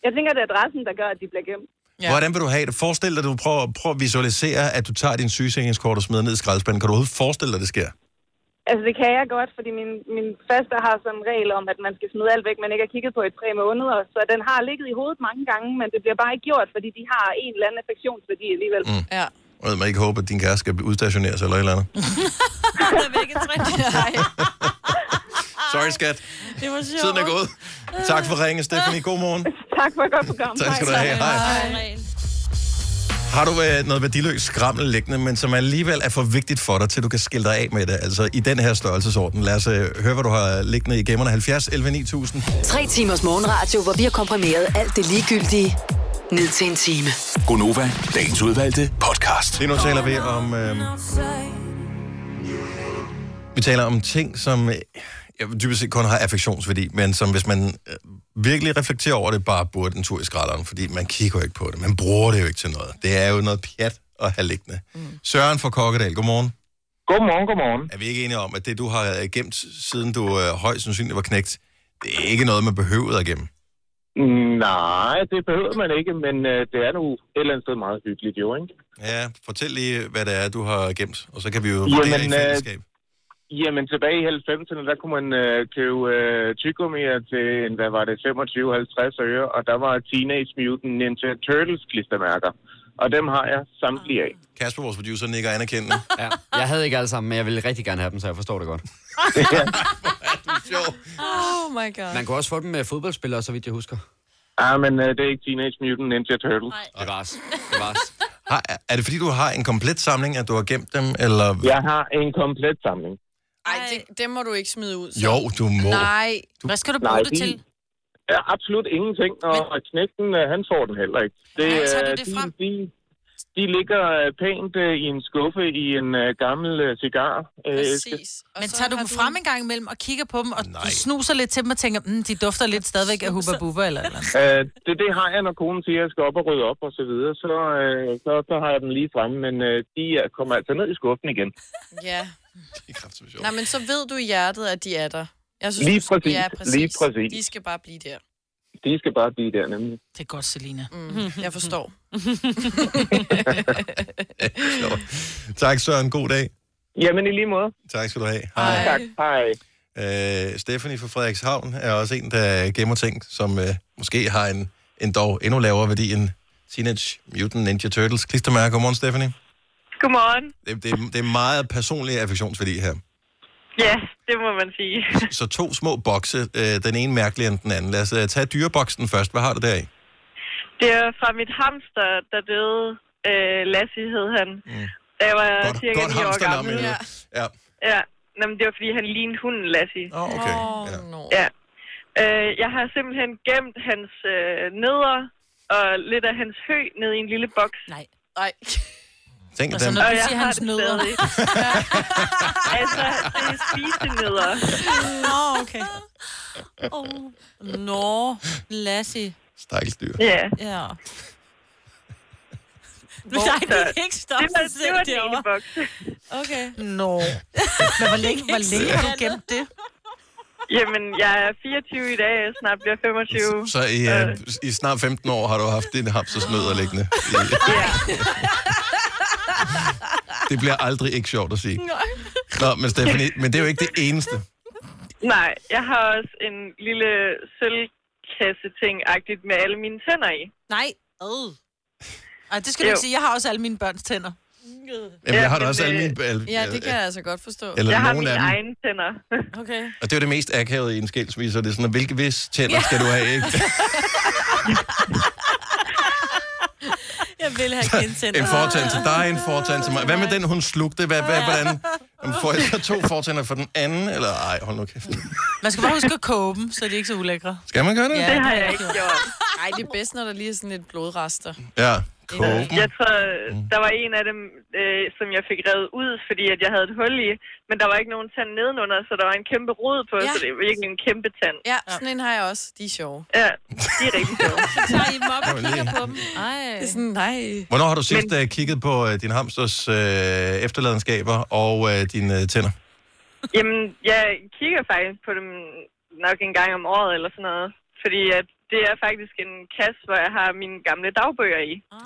Jeg tænker, det er adressen, der gør, at de bliver gemt.
Ja.
Hvordan vil du have det? Forestil dig, at du prøver, prøver at visualisere, at du tager din sygesikringskort og smider ned i skraldespanden. Kan du overhovedet forestille dig, at det sker?
Altså, det kan jeg godt, fordi min, min faste har som regel om, at man skal smide alt væk, man ikke har kigget på i tre måneder. Så den har ligget i hovedet mange gange, men det bliver bare ikke gjort, fordi de har en eller anden affektionsværdi alligevel. Mm.
Ja.
Jeg ved man ikke håbe, at din kæreste skal blive udstationeret eller et eller andet. Sorry, skat.
Det var sjovt.
Tiden er gået. Tak for ringen, Stephanie. God morgen.
Tak for et godt program.
Tak skal du have. Hej. Har du øh, noget værdiløst skrammel liggende, men som alligevel er for vigtigt for dig, til du kan skille dig af med det? Altså i den her størrelsesorden. Lad os øh, høre, hvad du har liggende i gemmerne. 70 11 9000.
Tre timers morgenradio, hvor vi har komprimeret alt det ligegyldige ned til en time.
Gonova, dagens udvalgte podcast.
Lige nu taler vi om... Øh, vi taler om ting, som øh, ja, dybest set kun har affektionsværdi, men som hvis man øh, virkelig reflekterer over det, bare burde en tur i skralderen, fordi man kigger jo ikke på det. Man bruger det jo ikke til noget. Det er jo noget pjat at have liggende. Mm. Søren fra Kokkedal, godmorgen.
Godmorgen, godmorgen.
Er vi ikke enige om, at det, du har øh, gemt, siden du øh, højst sandsynligt var knægt, det er ikke noget, man behøvede at gemme?
Nej, det behøver man ikke, men øh, det er nu et eller andet sted meget hyggeligt jo, ikke?
Ja, fortæl lige, hvad det er, du har gemt, og så kan vi jo
Jamen,
vurdere i
øh,
fællesskab.
Jamen, tilbage i 90'erne, der kunne man øh, købe øh, tyggegummier til, en, hvad var det, 25-50 øre, og der var Teenage Mutant Ninja Turtles klistermærker. Og dem har jeg samtlige af.
Kasper, vores producer, nikker anerkendende.
Ja. Jeg havde ikke alle sammen, men jeg ville rigtig gerne have dem, så jeg forstår det godt.
Sjov.
Oh my god.
Man kunne også få dem med fodboldspillere, så vidt jeg husker.
Ah, men øh, det er ikke Teenage Mutant Ninja Turtles.
Det var os. Det var os.
Har, er- er det fordi, du har en komplet samling, at du har gemt dem, eller...
Jeg har en komplet samling.
Ej, det, dem må du ikke smide ud. Så.
Jo, du må.
Nej.
Hvad skal du bruge det
de-
til?
Ja, absolut ingenting, og men... knægten, øh, han får den heller ikke. Det,
Ej, tager du
øh,
det
de,
frem?
De, de ligger øh, pænt øh, i en skuffe i en øh, gammel øh, cigar. øh, æske.
Præcis. Og
Men
så
tager du
har
dem frem en gang imellem og kigger på dem, og
Nej.
du snuser lidt til dem og tænker, mm, de dufter lidt stadigvæk af Hubba Bubba eller eller andet.
Øh, det, det har jeg, når konen siger, at jeg skal op og rydde op og så videre. Så, øh, så, så har jeg dem lige fremme, men øh, de øh, kommer altså ned i skuffen igen.
Ja.
Det er kraftigt sjovt.
Nej, men så ved du i hjertet, at de er der. Jeg
Lige
du skal-
præcis.
Ja, præcis.
Lige præcis.
De skal bare blive der.
De skal bare blive der nemlig.
Det er godt, Selina. Mhm.
Mm. Jeg forstår.
Sjovt. Tak, Søren. God dag.
Jamen i lige måde.
Tak skal du have.
Hej.
Tak. Hej.
Øh, Stephanie fra Frederikshavn er også en, der gemmer ting, som øh, måske har en, en dog endnu lavere værdi end Teenage Mutant Ninja Turtles. Klistermærke. Godmorgen, Stephanie.
Godmorgen.
Det, det, det er meget personlig affektionsværdi her.
Ja, det må man sige.
Så to små bokse, øh, den ene mærkeligere end den anden. Lad os øh, tage dyreboksen først. Hvad har du der i?
Det er fra mit hamster, der døde. Øh, Lassie hed han. Mm. Da jeg var
Godt,
cirka
godt
9 år
hamsternavn.
gammel.
Ja.
Ja.
ja.
ja. Nå, men det var, fordi han lignede hunden Lassie.
Oh, okay. Ja.
no.
Ja. Øh, jeg har simpelthen gemt hans øh, neder og lidt af hans hø ned i en lille boks.
Nej.
Ej.
Tænk
Altså,
den.
når du
jeg
siger
har
hans
det
nødder.
stadig. altså, det er spisenødder.
Nå, okay. Oh. Nå, Lassie.
Stakkels dyr.
Ja.
Ja. Nu er det ikke stoppe
Det var,
sig
det
selv
var den ene
derovre.
boks.
Okay.
Nå. Men hvor længe, hvor længe har du gemt det?
Jamen, jeg er 24 i dag, jeg snart bliver 25.
Så i, øh, i snart 15 år har du haft din hamstersnødder liggende. I- det bliver aldrig ikke sjovt at sige. Nå, men Stephanie, men det er jo ikke det eneste.
Nej, jeg har også en lille sølvkasse-ting-agtigt med alle mine tænder i.
Nej. Øh. Ej, det skal du
Jo.
ikke sige. Jeg har også alle mine børns tænder.
Jamen, jeg har da også alle mine... al-
Ja, det kan jeg altså godt forstå.
Eller Jeg har nogle mine af dem.
egne tænder.
Okay.
Og det er jo det mest akavede i en skilsmisse, og det er sådan, at hvilke vis tænder skal du have, ikke?
Jeg vil have kindtænder.
En fortand til dig, en fortand til mig. Hvad med den, hun slugte? Hvad, hvad, hvordan? Jamen, Får jeg så to fortænder for den anden? Eller ej, hold nu kæft.
Man skal bare huske at koge dem, så de er ikke så ulækre.
Skal man gøre det?
Det har jeg ikke gjort.
Nej, det er bedst, når der lige er sådan lidt blodrester.
Ja, koge dem.
Jeg tror,
Mm.
der var en af dem, øh, som jeg fik revet ud, fordi at jeg havde et hul i, men der var ikke nogen tand nedenunder, så der var en kæmpe rod på,
Ja.
ja. så det var virkelig en kæmpe tand.
Ja, sådan en har jeg også. De er sjove.
Ja, de er rigtig sjove.
Så tager I dem op og
Jamen,
kigger
lige.
på dem. Ej.
Det er sådan, nej.
Hvornår har du sidst men... kigget på øh, din hamsters øh, efterladenskaber og øh, dine øh, tænder?
Jamen, jeg kigger faktisk på dem nok en gang om året eller sådan noget, fordi at det er faktisk en kasse, hvor jeg har mine gamle dagbøger i.
Ah.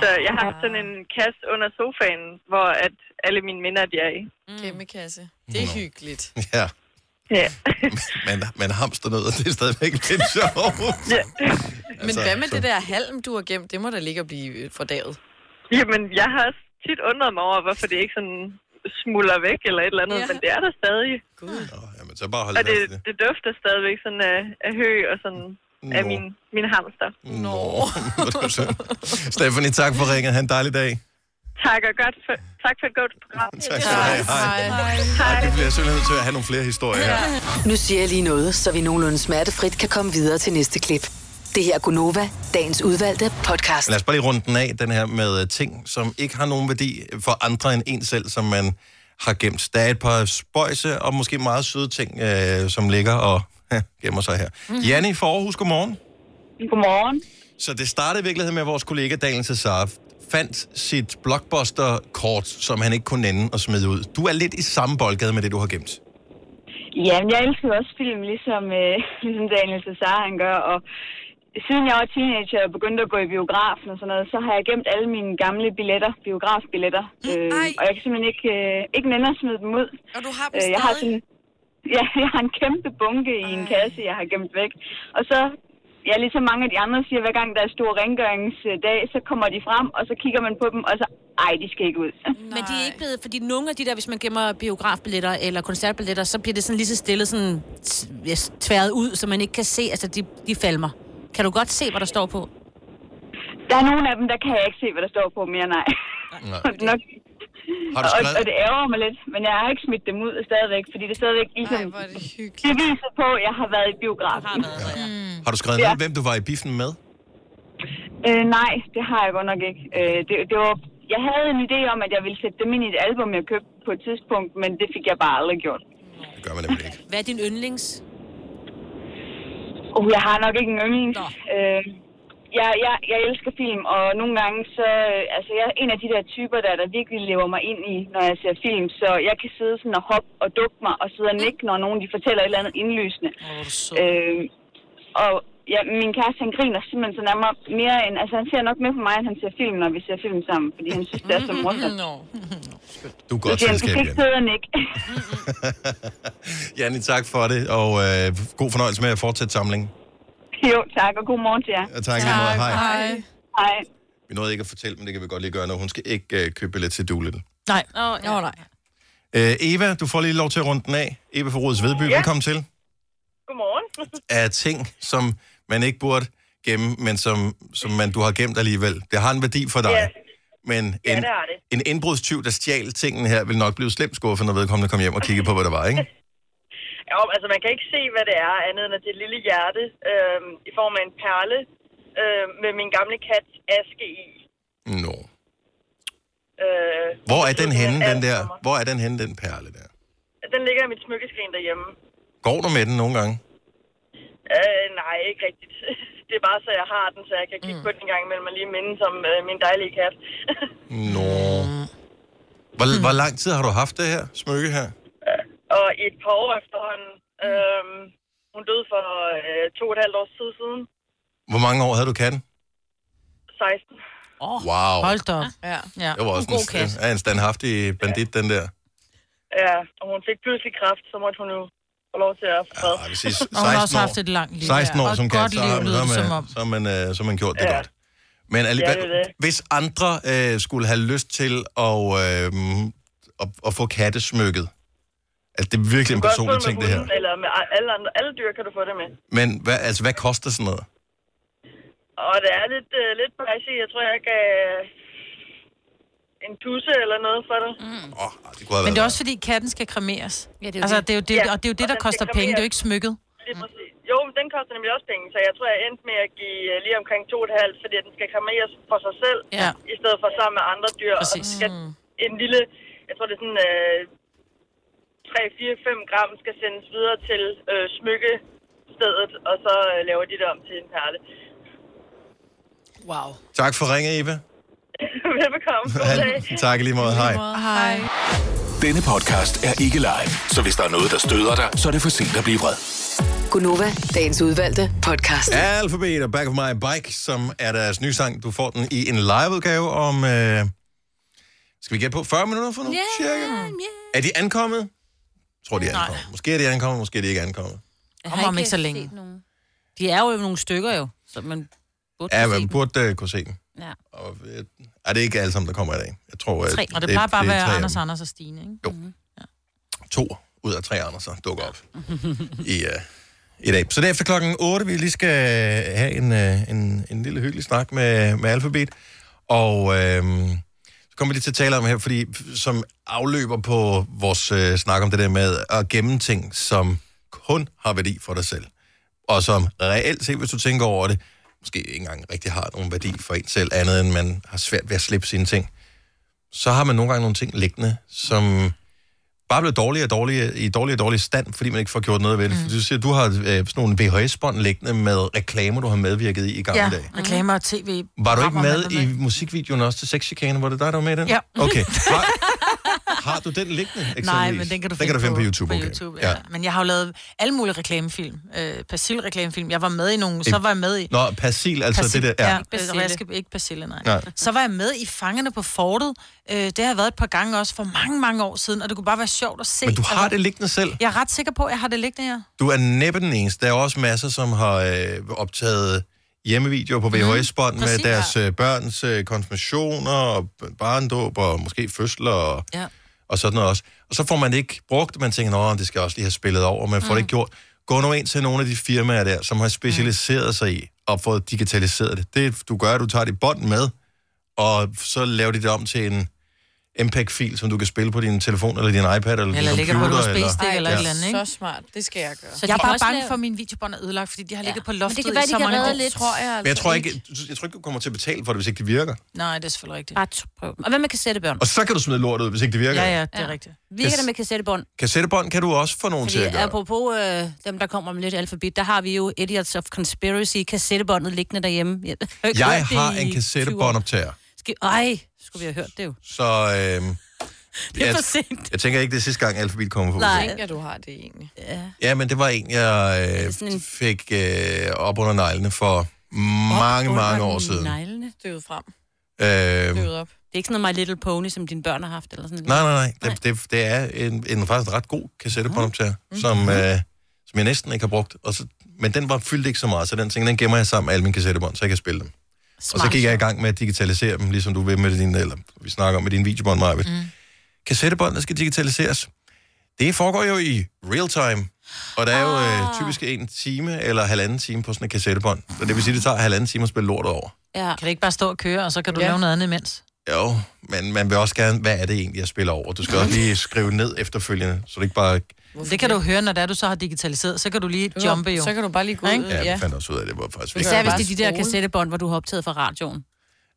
Så jeg har haft sådan en kasse under sofaen, hvor at alle mine minder, de er i.
Kæmpe kasse. Det er hyggeligt.
Ja,
Ja.
men, men hamsternød, det er stadigvæk lidt sjovt.
ja.
Altså,
Men hvad med det der halm, du har gemt? Det må da ligge og blive øh, fordavet.
Jamen, jeg har også tit undret mig over, hvorfor det ikke sådan smuldrer væk eller et eller andet,
Ja.
ja. men det er der stadig.
Nå, jamen, så bare hold
Og
fast
det,
i det.
det dufter stadigvæk sådan af, af hø og sådan Nå. af
Nå.
min, min hamster.
Nå, hvor er det synd. Stephanie, tak for ringet. Ha' en dejlig dag.
Tak og godt for, tak for et godt program.
Tak skal du have. Hej. Ej, det bliver jeg simpelthen nødt til at have nogle flere historier her.
Nu siger jeg lige noget, så vi nogenlunde smertefrit kan komme videre til næste klip. Det her er Gunova, dagens udvalgte podcast.
Men lad os bare lige runde den af, den her med øh, ting, som ikke har nogen værdi for andre end en selv, som man har gemt. Der er et par spøjse og måske meget søde ting, øh, som ligger og gemmer sig her. Janne fra Aarhus, godmorgen.
Mhm. Godmorgen.
Så det startede i virkeligheden med, at vores kollega Daniel Cesar fandt sit blockbuster-kort, som han ikke kunne nænde at smide ud. Du er lidt i samme boldgade med det, du har gemt.
Mm. Ja, men jeg elsker jo også film, ligesom, øh, ligesom Daniel Cesar han gør, og siden jeg var teenager og begyndte at gå i biografen og sådan noget, så har jeg gemt alle mine gamle billetter, biografbilletter,
Mm.
øh,
Ej.
og jeg kan simpelthen ikke, øh, ikke nænde at smide dem ud.
Og du har dem
Øh,
stadig?
jeg har sådan, ja, jeg har en kæmpe bunke i en kasse, jeg har gemt væk. Og så, ja, ligesom mange af de andre siger, hver gang der er stor rengøringsdag, så kommer de frem, og så kigger man på dem, og så, ej, de skal ikke ud.
Men de er ikke blevet, fordi nogle af de der, hvis man gemmer biografbilletter eller koncertbilletter, så bliver det sådan lige så stille sådan t- ja, tværet ud, så man ikke kan se, altså de, de falmer. Kan du godt se, hvad der står på?
Der er nogle af dem, der kan jeg ikke se, hvad der står på mere, nej.
Nej.
Nok,
Har du
og, og
skrevet...
det ærger mig lidt, men jeg har ikke smidt dem ud stadigvæk, fordi det er stadigvæk ligesom...
Nej, hvor er det hyggeligt.
det viser på, at jeg har været i biografen.
Har været der, ja.
Har du skrevet ned,
Ja.
hvem du var i biffen med?
Øh, nej, det har jeg godt nok ikke. Øh, det, det var, jeg havde en idé om, at jeg ville sætte dem ind i et album, jeg købte på et tidspunkt, men det fik jeg bare aldrig gjort.
Det gør man nemlig ikke.
Hvad er din yndlings?
Uh, jeg har nok ikke en yndling.
Nå.
Øh, jeg, jeg, jeg elsker film, og nogle gange så... øh, Altså, jeg er en af de der typer, der, der virkelig lever mig ind i, når jeg ser film. Så jeg kan sidde sådan og hoppe og dukke mig og sidde og nikke, når nogen de fortæller et eller andet indlysende.
Åh, hvor er du sød.
Øh, og ja, min kæreste, han griner simpelthen så nærmere mere end... Altså, han ser nok mere på mig, end han ser film, når vi ser film sammen. Fordi han synes, det er så morsomt.
Nå.
Du er
Så
godt
siger han, du
selskab,
skal
Janne.
ikke sidde og nikke.
Janne, tak for det, og øh, god fornøjelse med at fortsætte samlingen.
jo, tak, og god morgen til jer.
Og tak, tak. Måde. Hej.
Hej.
Hej.
Vi nåede ikke at fortælle, men det kan vi godt lige gøre, når hun skal ikke øh, købe billet til Doolittle.
Nej.
Åh, oh,
Nå, nej.
Øh, Eva, du får lige lov til at runde den af. Eva fra Rodes Vedby, ja. velkommen til.
Godmorgen.
Af ting, som man ikke burde gemme, men som, som man, du har gemt alligevel. Det har en værdi for dig.
Ja.
Men en,
Ja, det har det.
en indbrudstyv, der stjal tingene her, vil nok blive slemt skuffet, når vedkommende kom hjem og kiggede på, hvad der var, ikke?
Jo, altså man kan ikke se, hvad det er, andet end at det er et lille hjerte øh, i form af en perle øh, med min gamle kat Aske i.
Nå.
Øh,
Hvor er den henne, den
alt for
der?
mig.
Hvor er den henne, den perle der?
Den ligger i mit smykkeskrin derhjemme.
Går du med den nogle gange?
Øh, nej, ikke rigtigt. Det er bare så, jeg har den, så jeg kan kigge mm. på den en gang imellem og lige minde som øh, min dejlige kat.
Nå. Hvor, hvor lang tid har du haft det her smykke her?
og i et par år efterhånden,
Mm.
øh, hun døde for øh, to og et halvt års tid siden,
Hvor mange år havde du katten?
16.
Wow.
Hold da op.
Ja.
Det var også en, en, ja, en standhaftig bandit, den der.
Ja, og hun fik pludselig kraft, så måtte hun jo få lov til at fred. Ja,
hvis I s-
Og hun har
16
også
år.
haft et langt liv.
16 år
ja.
som
Og et
kat,
godt
så
liv,
har man, så
lyder
har
det
man,
som om.
så har man, øh, så har man gjort det
Ja.
godt. Men alligevel,
Ja, det er det.
hvis andre øh, skulle have lyst til at, øh, at, at få kattesmykket, altså det er virkelig en
Du kan også få
personlig
med
ting, det her.
hunden, Eller med a- alle, andre, alle dyr kan du få det med.
Men hvad, altså, hvad koster sådan noget?
Og det er lidt, øh, lidt pricey. Jeg tror, jeg gav øh, en tusse eller noget for det. Mm.
Men det er også fordi, katten skal kremeres. Ja, det
er jo
altså,
det.
det er jo det,
Ja,
og det, er jo det
og
der
den skal
koster penge. Det er jo
kremeres.
ikke smykket.
Lige præcis. Jo, men den koster nemlig også penge, så jeg tror, jeg endte med at give øh, lige omkring 2,5, fordi den skal kremeres for sig selv,
Ja.
i stedet for sammen med andre dyr.
Præcis.
Og den skal en lille, jeg tror, det er sådan øh, 3, 4, 5 gram, skal sendes videre til øh, smykkestedet, og så øh, laver de det om til en perle.
Wow.
Tak for ringe, Eva.
Velbekomme. God dag.
tak i lige måde. Hej.
Hej.
Denne podcast er ikke live, så hvis der er noget, der støder dig, så er det for sent at blive vred.
Gunova, dagens udvalgte podcast.
Alphabet og Back of My Bike, som er deres nye sang. Du får den i en liveudgave om... Øh, skal vi gætte på 40 minutter for nu? Yeah, cirka? Yeah. Er de ankommet? Jeg tror, de er
Nej.
ankommet. Måske er de ankommet, måske er de ikke ankommet.
Jeg
Kommer om ikke så længe.
set nogen. De er jo nogle stykker jo, så man burde
Ja,
kunne se
man
dem.
burde uh, kunne se dem.
Ja.
Og, øh, er det ikke alle sammen, der kommer i dag? Jeg tror, at
Tre. Og det, plejer bare at
det er
være
tre af
Anders,
dem.
Anders og Stine, ikke? Mhm.
Jo. To ud af tre Anderser dukker op i, uh, i dag. Så det er efter klokken 8, vi lige skal have en, uh, en, en lille hyggelig snak med, med Alphabet. Og øh, så kommer vi lige til at tale om her, fordi f- som afløber på vores øh, snak om det der med at gemme ting, som kun har værdi for dig selv. Og som reelt set, hvis du tænker over det, måske ikke engang rigtig har nogen værdi for en selv, andet end man har svært ved at slippe sine ting. Så har man nogle gange nogle ting liggende, som bare bliver dårligere og dårligere, i dårligere og dårligere stand, fordi man ikke får gjort noget ved det. Mm. Du siger, du har øh, sådan nogle VHS-bånd liggende med reklamer, du har medvirket i i gamle
Ja,
dage.
reklamer og tv.
Var du ikke med i musikvideoen også til sexchikane? Var det dig, der var med i den?
Ja.
Okay. Har, har du den liggende? Eksempelvis?
Nej, men den kan du
den
finde,
kan du finde på, YouTube.
På
okay.
YouTube ja. Ja. Men jeg har jo lavet alle mulige reklamefilm. Øh, Persil-reklamefilm. Jeg var med i nogle, så var jeg med i...
Nå, Persil, altså
Persil,
det der.
Ja,
Ja.
ikke jeg skal ikke persille, nej.
Nej.
nej. Så var jeg med i Fangerne på Fortet. Øh, det har jeg været et par gange også for mange, mange år siden, og det kunne bare være sjovt at se. altså,
Men du har det liggende selv.
Jeg er ret sikker på, at jeg har det liggende, ja.
Du er næppe den eneste. Der er også masser, som har øh, optaget hjemmevideoer på VHS-bånd mm, med
Mhm, præcis,
deres øh, børns øh, konfirmationer og barndåb og måske fødsler og,
Ja.
og sådan noget også. Og så får man det ikke brugt, man tænker, at det skal jeg også lige have spillet over, men man
Mhm.
får det ikke gjort. Gå nu ind til nogle af de firmaer der, som har specialiseret sig i og fået digitaliseret det. Det du gør, du tager dit bånd med, og så laver de det om til en MPEG-fil, som du kan spille på din telefon eller din iPad eller,
Eller
din
ligger på
computer.
et USB-stik eller et eller andet, ikke?
Så smart. Det skal jeg gøre.
Så jeg er bare bange for, at mine videobånd er ødelagt, fordi de har ligget på loftet
det kan være,
i
de
så
kan
mange
redde
år.
lidt.
Tror jeg,
Men jeg tror, ikke, jeg tror ikke, du kommer til at betale for det, hvis ikke det virker.
Nej, det er selvfølgelig rigtigt.
Bare t- prøv. Og hvad med kassettebånd?
Og så kan du smide lortet ud, hvis ikke det virker.
Ja, ja, det er rigtigt.
Virker det med kassettebånd?
Kassettebånd kan du også få nogen til
Fordi
at gøre.
apropos øh, dem, der kommer med lidt alfabet, der har vi jo Idiots of Conspiracy, kassettebåndet liggende derhjemme. Jeg, har ikke
Jeg
hørt det
har
i
en
20 år.
kassettebåndoptager,
Skal- Ej, skulle vi have hørt det jo.
så øhm,
Det er
jeg,
for sent.
jeg tænker ikke, det er sidste gang Alphabet kommer på.
Nej.
Tænk, at du har det egentlig.
Ja.
Ja, men det var en, jeg øh, fik øh, op under neglene for mange, mange år siden.
Neglene
støvet frem.
Øhm,
Støvet op.
Det er ikke sådan noget My Little Pony, som dine børn har haft, eller sådan
Nej, nej, nej. Det, det, det er en, en faktisk ret god kassettebåndoptager, som, øh, som jeg næsten ikke har brugt. Og så, men den var fyldt ikke så meget, så den tænkte, den gemmer jeg sammen med alle mine kassettebånd, så jeg kan spille dem. Smart. Og så gik jeg i gang med at digitalisere dem, ligesom du vil med dine, eller vi snakker om med dine videobånd, Maja. Mm. Kassettebånd, der skal digitaliseres. Det foregår jo i real time, og der er jo øh, typisk en time eller halvanden time på sådan et kassettebånd. Så det vil sige, det tager halvanden time at spille lortet over.
Ja.
Kan det ikke bare stå og køre, og så kan du ja. lave noget andet imens?
Jo, men man vil også gerne, hvad er det egentlig, jeg spiller over? Du skal også lige skrive ned efterfølgende, så det ikke bare...
det kan du høre, når det er, du så har digitaliseret. Så kan du lige
Jo,
jumpe jo.
så kan du bare lige gå ud,
Ikke?
Ja, jeg fandt også ud af, at det var faktisk vigtigt.
Især hvis det er de der kassettebånd, hvor du har optaget fra radioen.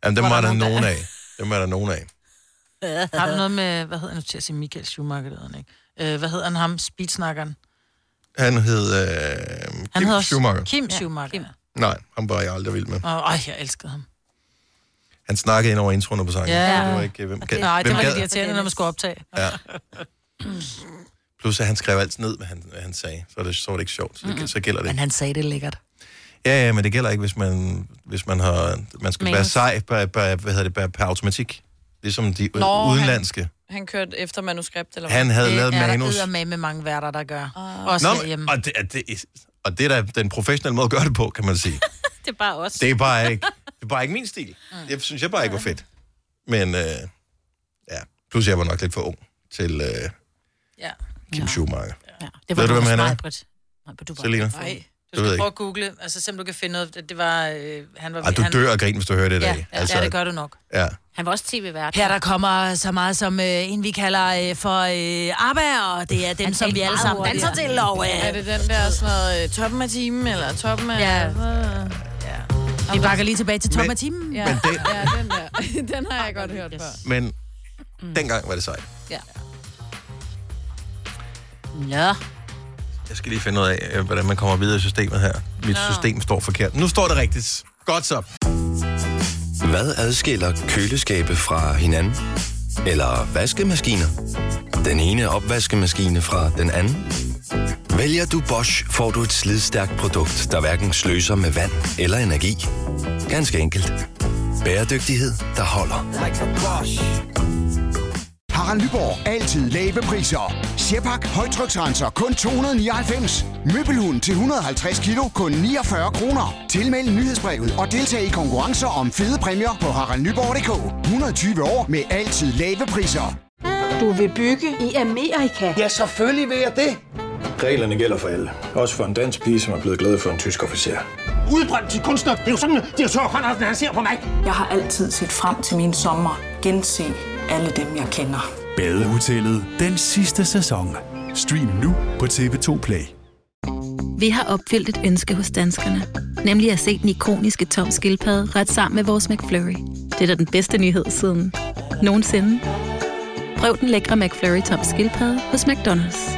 Jamen, dem
hvor
var
der
der
er nogen,
nogen
der-
af. Dem var der nogen af.
Har du noget med, hvad hedder han nu til at sige, Michael Schumacher, det hedder han, ikke? Øh, hvad hedder han ham, speedsnakkeren?
Han hed øh, Kim
Han hedder også
Schumacher.
Kim Schumacher. Ja, Kim.
Nej, han var jeg aldrig vild med.
Og, øj, jeg elskede ham.
Han snakkede ind over introen på sangen.
Ja.
Det var ikke, øh, hvem gad.
Nej, det
hvem
var lidt
gad?
irriterende, når man skulle optage.
Ja.
Mm.
Plus, at han skrev altid ned, hvad han, hvad han sagde. Så er det, så var det ikke sjovt. Så, det, så gælder det.
Men han sagde det lækkert.
Ja, ja, men det gælder ikke, hvis man, hvis man, har, man skal
Manus.
være sej per, per, hvad hedder det, per, per automatik. Ligesom de
Nå,
Nå, udenlandske.
Han kørte efter manuskript, eller
Han havde
det
lavet
er
manus.
der med med mange værter, der gør.
Ah.
Også
Nå,
Nå, herhjemme.
men- og, det, er- det, er- og det er da den professionelle måde at gøre det på, kan man sige.
Det er bare os.
Det er bare ikke, det er bare ikke min stil.
Mm.
Det synes jeg bare ikke var fedt. Men øh, ja, plus jeg var nok lidt for ung til øh,
Ja.
Kim Schumacher.
Ja.
Det var Ved du, hvem han er?
Britt. Nej, du
var- Selina?
Nej,
Det
du
ved jeg
skal
ikke.
prøve at google, altså selvom du kan finde noget. Det, det var, øh, han var...
Ej, du
han,
dør af grin, hvis du hører det Altså- i
Ja,
dag.
ja, ja, det gør du nok.
Ja.
Han var også tv-vært.
Her der kommer så meget som øh, en, vi kalder øh, for øh, ABBA, og det er dem, som vi alle sammen danser til. Og, øh,
Er det den der sådan noget øh, toppen af timen, eller toppen af...
Ja. Vi bakker lige tilbage til
Men-
Tom og Timen.
Ja,
Men det-
ja, den der. Den har jeg godt hørt før.
Men
Mm.
dengang var det sejt.
Ja.
Ja.
Jeg skal lige finde ud af, øh, hvordan man kommer videre i systemet her. Mit
Nå.
system står forkert. Nu står det rigtigt. Godt så.
Hvad adskiller køleskabe fra hinanden? Eller vaskemaskiner? Den ene opvaskemaskine fra den anden? Vælger du Bosch, får du et slidstærkt produkt, der hverken sløser med vand eller energi. Ganske enkelt. Bæredygtighed, der holder.
Harald Nyborg. Altid lave priser. Sjehpak. Højtryksrenser. Kun 299. Møbelhund til 150 kilo. Kun 49 kroner. Tilmeld nyhedsbrevet og deltag i konkurrencer om fede præmier på haraldnyborg.dk. 120 år med altid lave priser.
Du vil bygge i Amerika? Ja, selvfølgelig vil jeg det.
Reglerne gælder for alle. Også for en dansk pige, som er blevet glad for en tysk officer.
Udbrændt til kunstner. Det er jo sådan, at de har tørt, han ser på mig. Jeg har altid set frem til min sommer. Gense alle dem, jeg kender.
Badehotellet den sidste sæson. Stream nu på TV2 Play.
Vi har opfyldt et ønske hos danskerne. Nemlig at se den ikoniske tom skildpadde ret sammen med vores McFlurry. Det er da den bedste nyhed siden nogensinde. Prøv den lækre McFlurry tom skildpadde hos McDonald's.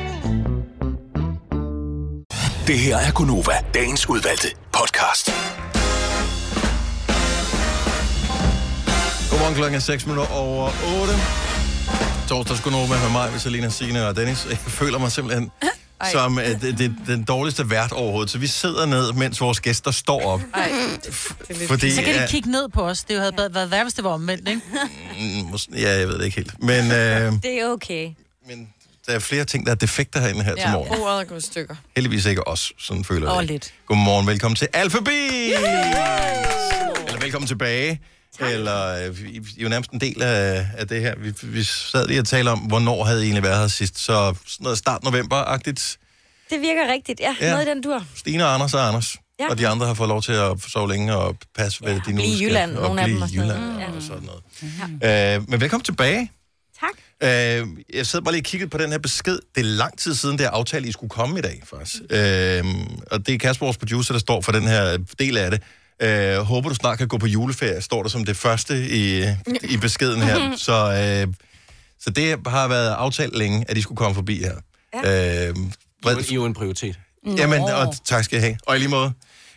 Det her er Gunova, dagens udvalgte podcast.
Godmorgen klokken er 6 minutter over 8. Torsdags Gunova med mig, med Selina, Signe og Dennis. Jeg føler mig simpelthen som øh, det, det, den dårligste vært overhovedet. Så vi sidder ned, mens vores gæster står op.
Ej,
lidt- Fordi,
så kan de
øh,
kigge ned på os. Det havde ja. været værre, hvis det var omvendt, ikke?
Mm, mås- Ja, jeg ved det ikke helt. Men øh,
Det er okay.
der er flere ting, der er defekter herinde her til
Ja,
morgen.
ordet er gået i stykker.
Heldigvis ikke os, sådan føler jeg.
Og
det.
lidt.
Godmorgen, velkommen til Alphabet! Eller velkommen tilbage. Tak. Eller øh, I I er jo nærmest en del af, af det her. Vi, vi sad lige og talte om, hvornår havde I egentlig været her sidst. Så sådan noget start november-agtigt.
Det virker rigtigt, ja.
Ja.
ja. Noget i den dur.
Stine og Anders og Anders. Ja.
Ja.
Og de andre har fået lov til at sove længe og passe, hvad ja, de nu
blive i
skal.
Jylland,
og
nogle af
blive
dem og
i
sådan
Jylland
noget.
og sådan noget. Ja. Øh, men velkommen tilbage.
Tak.
Øh, jeg sad bare lige og kiggede på den her besked. Det er lang tid siden, det er aftalt, I skulle komme i dag, faktisk. Øh, og det er Kasper, vores producer, der står for den her del af det. Øh, håber, du snart kan gå på juleferie, står der som det første i, i beskeden her. Så, øh, så det har været aftalt længe, at I skulle komme forbi her. Ja. Øh, I er jo en prioritet. Jamen,
Nå.
og tak skal I have. Og i lige måde.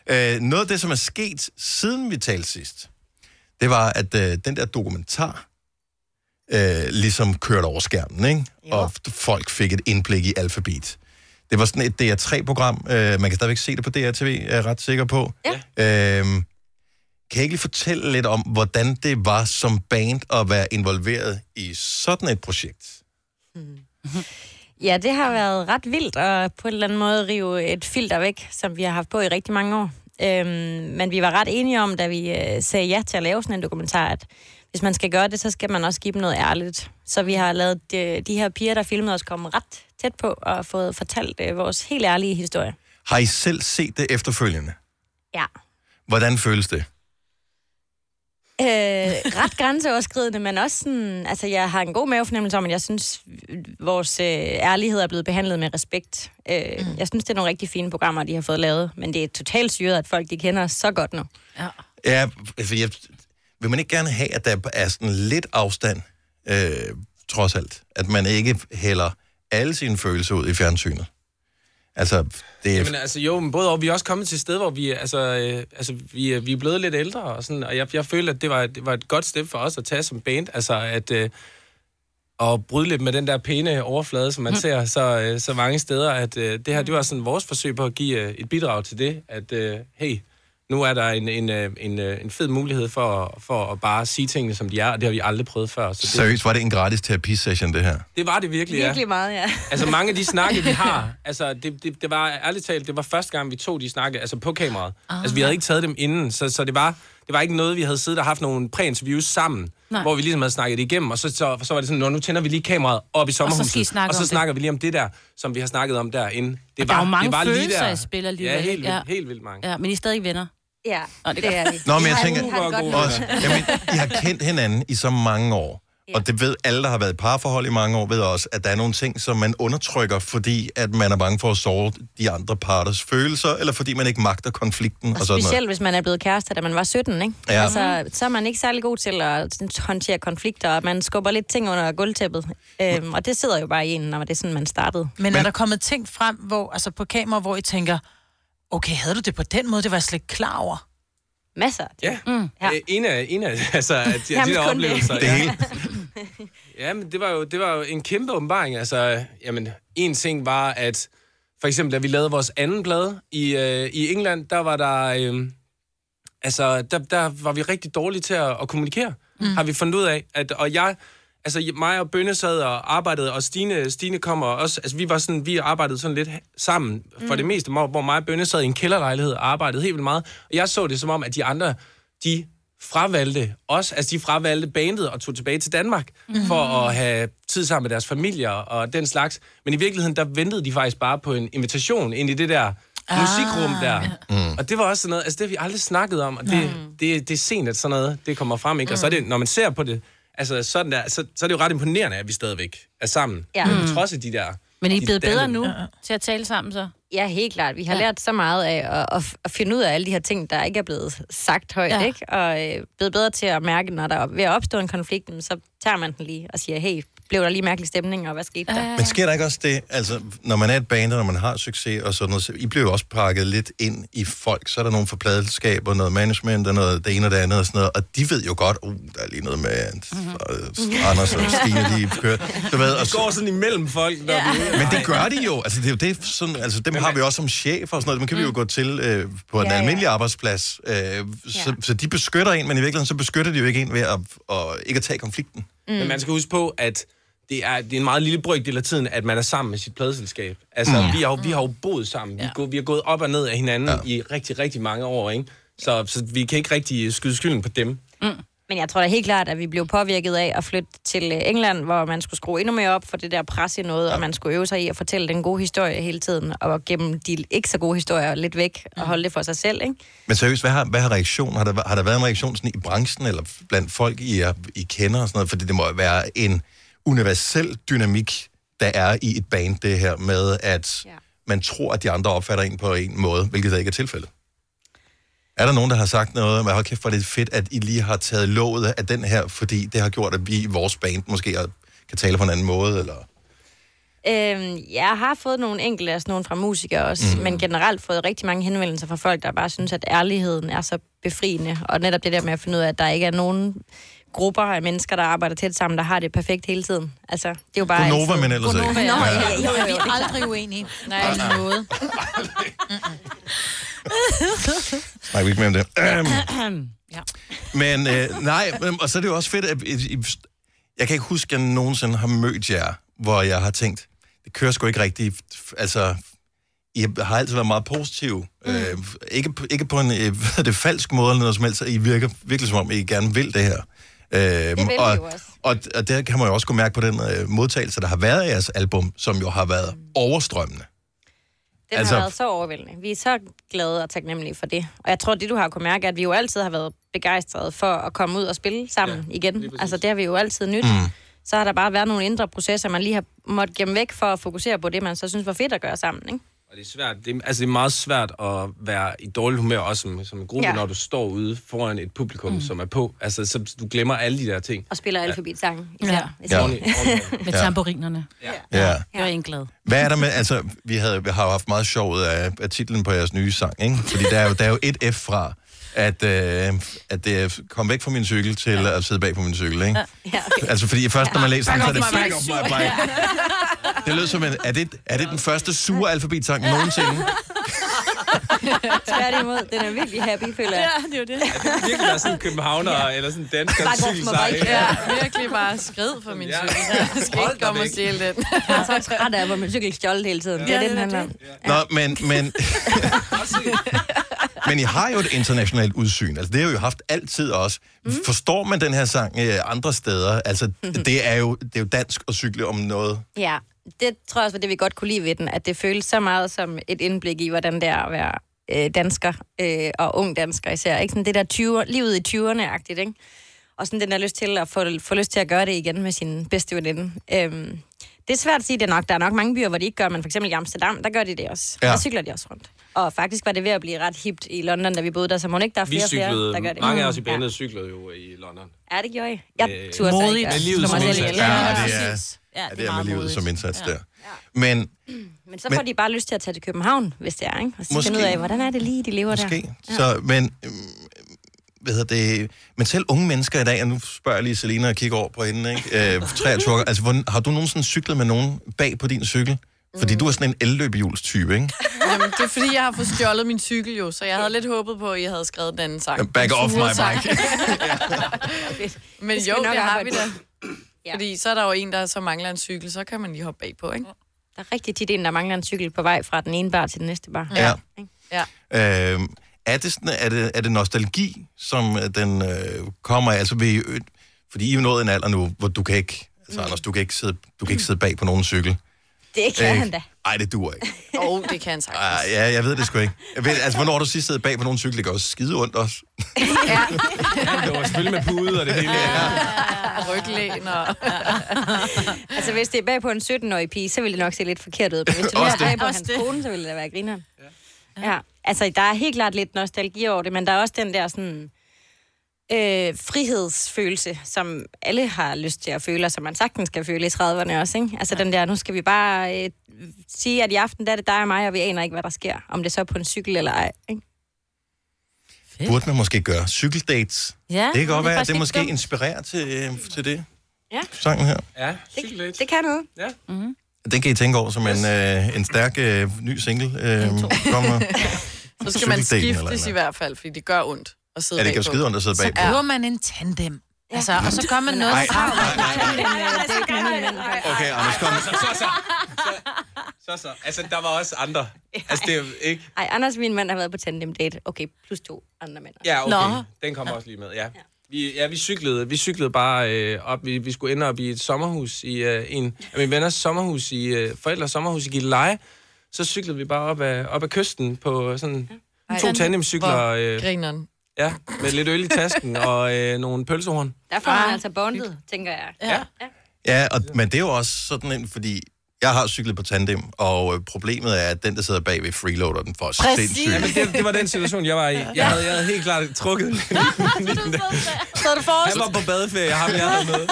Øh, noget af det, som er sket, siden vi talte sidst, det var, at øh, den der dokumentar, øh, ligesom kørte over skærmen, ikke? Og f- folk fik et indblik i alfabet. Det var sådan et DR3-program. Øh, man kan stadigvæk se det på DRTV, er jeg ret sikker på. Ja. Øhm, kan jeg ikke lige fortælle lidt om, hvordan det var som band at være involveret i sådan et projekt?
Ja, det har været ret vildt at på en eller anden måde rive et filter væk, som vi har haft på i rigtig mange år. Øhm, men vi var ret enige om, da vi øh, sagde ja til at lave sådan en dokumentar, at hvis man skal gøre det, så skal man også give dem noget ærligt. Så vi har lavet øh, de, de her piger, der filmede os, komme ret tæt på og fået fortalt øh, vores helt ærlige historie.
Har I selv set det efterfølgende?
Ja.
Hvordan føles det?
Øh, ret grænseoverskridende, men også sådan, altså jeg har en god mavefornemmelse om, at jeg synes, vores øh, ærlighed er blevet behandlet med respekt. Øh, mm. Jeg synes, det er nogle rigtig fine programmer, de har fået lavet, men det er totalt syret, at folk de kender os så godt nu. Ja.
Ja, altså, jeg, vil man ikke gerne have, at der er sådan lidt afstand, øh, trods alt? At man ikke hælder alle sine følelser ud i fjernsynet? Altså, det er...
Jamen altså jo, men både og. Vi er også kommet til et sted, hvor vi, er- altså, øh, altså, vi, er- vi er blevet lidt ældre, og, sådan, og jeg, jeg følte, at det var, det var et godt step for os at tage som band, altså at øh, at bryde lidt med den der pæne overflade, som man
Mm.
ser så, øh, så mange steder, at øh, det her, det var sådan vores forsøg på at give øh, et bidrag til det, at øh, hey, Nu er der en, en, øh, en, øh, en fed mulighed for, at- for at bare sige tingene, som de er, og det har vi aldrig prøvet før. Så det,
Seriøst, var det en gratis terapisession, det her?
Det var det virkelig, ja.
Virkelig meget, ja.
Altså mange af de snakke, vi har, altså det, det, det var ærligt talt, det var første gang, vi tog de snakke, altså på kameraet.
Ah.
Ah. Altså vi havde ikke taget dem inden, så, så det, var, det var ikke noget, vi havde siddet og haft nogle præinterviews sammen,
Nej.
Nej. hvor vi ligesom havde snakket det igennem, og så, så, så var det sådan, "Nå, nu tænder vi lige kameraet op i sommerhuset,
skal I snakke
og så
om det."
snakker vi lige om det der, som vi har snakket om derinde. Det
Og der er jo mange
det var lige
følelser
der.
i spil alligevel,
Ja, helt
ikke?
vildt,
Ja.
ja. helt vildt mange.
Ja, men I er stadig venner.
Ja,
Nå, det, det er vi.
Nå, men jeg tænker, også, jamen, I har kendt hinanden i så mange år, og det ved alle, der har været i parforhold i mange år, ved også, at der er nogle ting, som man undertrykker, fordi at man er bange for at såre de andre parters følelser, eller fordi man ikke magter konflikten og, og sådan
Specielt
noget.
hvis man er blevet kærester, da man var 17, ikke?
Ja.
Altså, så er man ikke særlig god til at sådan håndtere konflikter, og man skubber lidt ting under gulvtæppet. Øhm, og det sidder jo bare i en, når det er sådan, man startede.
Men er der kommet ting frem hvor, altså på kamera, hvor I tænker, okay, havde du det på den måde? Det var jeg slet ikke klar over.
Masser.
Ja,
Altså,
mm, ja. en af, en af altså, af de,
Jamen,
de
kun
der
det.
oplevelser.
Det
ja.
hele.
ja, men det var, jo, det var jo en kæmpe åbenbaring. Altså, jamen, en ting var, at for eksempel, da vi lavede vores anden plade i, øh, i England, der var der... Øh, altså, der, der var vi rigtig dårlige til at, at kommunikere, mm. har vi fundet ud af. At, og jeg, altså mig og Bønne sad og arbejdede, og Stine, Stine kom og også, altså vi var sådan, vi arbejdede sådan lidt sammen for
Mm.
det meste, hvor, hvor mig og Bønne sad i en kælderlejlighed og arbejdede helt vildt meget. Og jeg så det som om, at de andre, de fravalgte os, altså de fravalgte bandet og tog tilbage til Danmark
Mhm.
mm. for at have tid sammen med deres familier og den slags. Men i virkeligheden, der ventede de faktisk bare på en invitation ind i det der
Ah,
musikrum der.
ja.
Mm. Og det var også sådan noget, altså det har vi aldrig snakket om, og det, det, det er sent, at sådan noget, det kommer frem, ikke? Og så er det, når man ser på det, altså sådan der, så, så er det jo ret imponerende, at vi stadigvæk er sammen.
Ja.
Ja.
Mm.
Mm. Trods af de der...
Men I er
de
blevet bedre
dannede-
nu til at tale sammen så?
Ja, helt klart. Vi har ja. lært så meget af at, at, at finde ud af alle de her ting, der ikke er blevet sagt højt, ja. ikke? Og øh, blevet bedre til at mærke, når der er ved at opstå en konflikt, jamen, så tager man den lige og siger, hey, blev der lige mærkelig stemning, og hvad skete der?
Men sker der ikke også det, altså, når man er et band, og når man har succes og sådan noget, så I bliver jo også pakket lidt ind i folk. Så er der nogle forpladelskaber, noget management og noget det ene og det andet og sådan noget, og de ved jo godt, uh, der er lige noget med at- at Anders og Stine, de kører. Du ved, og
Det
så,
går sådan imellem folk, når ja.
Men det gør de jo. Altså, det er jo det, sådan, altså, dem har vi også som chef og sådan noget. Dem kan vi jo gå til øh, på en
Ja,
ja,
ja.
almindelig arbejdsplads. Øh, så, så de beskytter en, men i virkeligheden så beskytter de jo ikke en ved at, at ikke at tage konflikten.
Mm. Men man skal huske på, at det er, det er en meget lille brøkdel af tiden, at man er sammen med sit pladeselskab. Altså,
Mm.
mm. vi, har, jo- vi har jo boet sammen. Ja. Vi, er gået, vi har gået op og ned af hinanden ja. i rigtig, rigtig mange år, ikke? Så, så vi kan ikke rigtig skyde skylden på dem.
Mm. Men jeg tror da helt klart, at vi blev påvirket af at flytte til øh, England, hvor man skulle skrue endnu mere op for det der pres i noget, og man skulle øve sig i at fortælle den gode historie hele tiden, og gemme de ikke så gode historier lidt væk, og holde det for sig selv, ikke?
Men seriøst, hvad har, hvad har reaktionen? Har der, har der været en reaktion sådan i branchen, eller blandt folk, I, er, I kender og sådan noget? Fordi det må jo være en universel dynamik, der er i et band, det her med, at ja. man tror, at de andre opfatter en på en måde, hvilket der ikke er tilfældet. Er der nogen, der har sagt noget om, at hold kæft, hvor er det fedt, at I lige har taget låget af den her, fordi det har gjort, at vi i vores band måske er- kan tale på en anden måde, eller...
Øhm, jeg har fået nogle enkelte af sådan nogle fra musikere også,
Mhm.
mm. men generelt fået rigtig mange henvendelser fra folk, der bare synes, at ærligheden er så befriende. Og netop det der med at finde ud af, at der ikke er nogen grupper af mennesker, der arbejder tæt sammen, der har det perfekt hele tiden. Altså, det er jo bare...
Gonova,
altid-
men ellers ikke.
Gonova,
Nå,
ja.
ja,
Jo, jo,
Vi
jo.
er aldrig uenige.
Nej.
På
Nej.
noget.
Nej, vi ikke mere om det. Øhm,
ja.
Men øh, nej, men- og så er det jo også fedt, at I- I- jeg kan ikke huske, at jeg nogensinde har mødt jer, hvor jeg har tænkt, det kører sgu ikke rigtigt. Altså, I har altid været meget positive. Mm. Øh, ikke, på- ikke på en øh, hvad hedder det, falsk måde eller noget som helst. I virker virkelig som om, I gerne vil det her. Øh, det
vil vi
og,
jo også.
Og, og der kan man jo også kunne mærke på den øh, modtagelse, der har været af jeres album, som jo har været overstrømmende.
Den altså...
Altså-
har været så overvældende. Vi er så glade og taknemmelige for det. Og jeg tror, det du har kunnet mærke, er, at vi jo altid har været begejstrede for at komme ud og spille sammen ja, igen. Altså, det har vi jo altid nyt. Mm. Så har der bare været nogle indre processer, man lige har måttet gemme væk for at fokusere på det, man så synes var fedt at gøre sammen, ikke?
Og det er svært. Det er, altså, det er meget svært at være i dårlig humør også som, som en gruppe,
Ja.
ja. når du står ude foran et publikum,
Mm.
mm. som er på. Altså, så du glemmer alle de der ting.
Og spiller alfabetsange især.
Ja.
Især.
Ja.
Med
Ja.
tamburinerne. Ja.
Ja.
Jeg er en glad.
Hvad er der med, altså, vi, havde, vi har jo haft meget sjov ud af, af titlen på jeres nye sang, ikke? Fordi der er jo, der er jo et F fra, at, øh, at det er kom væk fra min cykel til ja. at sidde bag på min cykel, ikke?
Ja,
Ja. Altså, fordi først, når man læser den, så er det...
Back off my bike.
Back off my bike. Det lød som en... Er det, er det den første sure alfabetsang nogensinde?
Tværtimod, den er virkelig happy, føler jeg.
Ja, det er jo det.
Virkelig være sådan en københavner ja. eller sådan en dansker
Bare
gå op med
cykelsej.
mig.
ikke?
Ja, virkelig bare skrid for min
Ja.
cykel. Jeg skal
Hold
ikke
da
komme og
væk.
stjæle den.
Jeg er så træt af, hvor min cykel stjålet hele tiden. Det er
Ja,
det,
det
den
er
handler om.
Nå, men, men, men I har jo et internationalt udsyn. Altså, det har I jo haft altid også. Mm. Forstår man den her sang øh, andre steder? Altså, det er, jo, det er jo dansk at cykle om noget.
Ja, det tror jeg også var det, vi godt kunne lide ved den, at det føles så meget som et indblik i, hvordan det er at være øh, dansker, øh, og ung dansker især. Ikke? Sådan det der 20, livet i 20'erne-agtigt, ikke? Og sådan den der lyst til at få, få lyst til at gøre det igen med sin bedste veninde. Øhm, det er svært at sige det nok. Der er nok mange byer, hvor de ikke gør, men for eksempel i Amsterdam, der gør de det også.
Ja.
Ja. Der cykler de også rundt. Og faktisk var det ved at blive ret hipt i London, da vi boede der, så må ikke der er
Vi
flere og flere,
cyklede,
der gør det. Mm.
mange af os i bandet cyklede jo i London.
Ja, det gjorde I. Jeg
Øh,
turde så ikke.
Modigt.
at
Med livet
slå mig
som
selv
Ja,
ihjel.
det er,
Ja,
ja, det er med livet som indsats der. Men
Men så får
Men-
men, de bare lyst til at tage til København, hvis det er, ikke? Og så
Måske.
finde ud af, hvordan er det lige, de lever der. Ja.
Så, men, øhm, hvad hedder det, men selv unge mennesker i dag, og nu spørger jeg lige Selina og kigger over på hende, ikke? Øh, 23 år, altså, hvordan, har du nogensinde cyklet med nogen bag på din cykel? Fordi du er sådan en elløbehjulstype, ikke?
Jamen, det er fordi, jeg har fået stjålet min cykel jo, så jeg havde lidt håbet på, at I havde skrevet den anden sang.
Back off my
Sang.
bike.
Men
Det skal
jo,
vi nok
det har vi
arbejde
da.
Ja.
Fordi så er der jo en, der så mangler en cykel, så kan man lige hoppe bagpå, ikke?
Der er rigtig tit en, der mangler en cykel på vej fra den ene bar til den næste bar.
Ja.
Ja.
Øhm, er, det sådan, er, det, er det nostalgi, som øh, den øh, kommer af? Altså, vil I, ø- fordi I er jo nået en alder nu, hvor du kan ikke, altså Anders, du kan ikke sidde, du kan ikke sidde bag på nogen cykel.
Det
Øh,
kan han da.
Ej, det duer ikke.
Åh, oh, det kan han sagtens.
Ej, Ah, ja, jeg ved det sgu ikke. Jeg ved, altså, hvornår har du sidst siddet bag på nogen cykel? Det gør også skide ondt også.
Ja, det var selvfølgelig med pude og det hele.
Og ryglæn og...
Altså, hvis det er bag på en 17-årig pige, så ville det nok se lidt forkert ud. Men hvis det nu
Også
er
det.
bag på
Også
hans
det.
kone, så ville det da være grineren. Ja. ja. Altså, der er helt klart lidt nostalgi over det, men der er også den der sådan... Øh, frihedsfølelse, som alle har lyst til at føle, og som man sagtens kan føle i 30'erne også, ikke? Altså den der, nu skal vi bare øh, sige, at i aften der er det dig og mig, og vi aner ikke, hvad der sker. Om det så er på en cykel eller ej, ikke?
Burde man måske gøre cykeldates?
Ja,
det kan
det er
godt være, at
faktisk
det
ikke
måske
dumt.
inspirerer til, øh, til det,
Ja,
sangen her.
Ja,
det, det kan noget.
Ja.
Mm-hmm.
Den kan I tænke over som en, øh, en stærk øh, ny single. Øh, kommer.
Så skal man
Cykeldaten eller et eller
skiftes i
andet.
hvert fald, fordi det gør ondt at sidde
Ja, det
bagpå.
gør skide ondt at sidde
Så
bagpå.
kører man en tandem. Altså, og så gør man
Nej,
noget
nej,
sammen.
nej, nej.
Tandem, øh, det er ikke meningen.
Okay, Anders, kom.
Så, så, så. Så, så. Altså, der var også andre. Altså, det er jo ikke...
Ej, Anders, min mand, har været på tandem date. Okay, plus to andre mænd.
Ja, okay. Nå. Den kommer også lige med, ja. Vi, ja, vi cyklede, vi cyklede bare øh, op. Vi, vi skulle ende op i et sommerhus, i øh, en af mine venners sommerhus, i øh, forældres sommerhus i Gilleleje. Så cyklede vi bare op ad, op ad kysten på sådan ja. to tandemcykler.
Hvor
Øh,
grineren.
ja, med lidt øl i tasken og øh, nogle pølsehorn.
Der får man altså bondet, tænker jeg. Ja.
Ja, og, men det er jo også sådan en, fordi jeg har cyklet på tandem, og øh, problemet er, at den, der sidder bagved, freeloader den for
Præcis.
sindssygt.
Jamen, det, det var den situation, jeg var i. Jeg havde, jeg havde helt klart trukket lidt.
Så er det forrest.
Han var på badeferie, ham jeg havde med.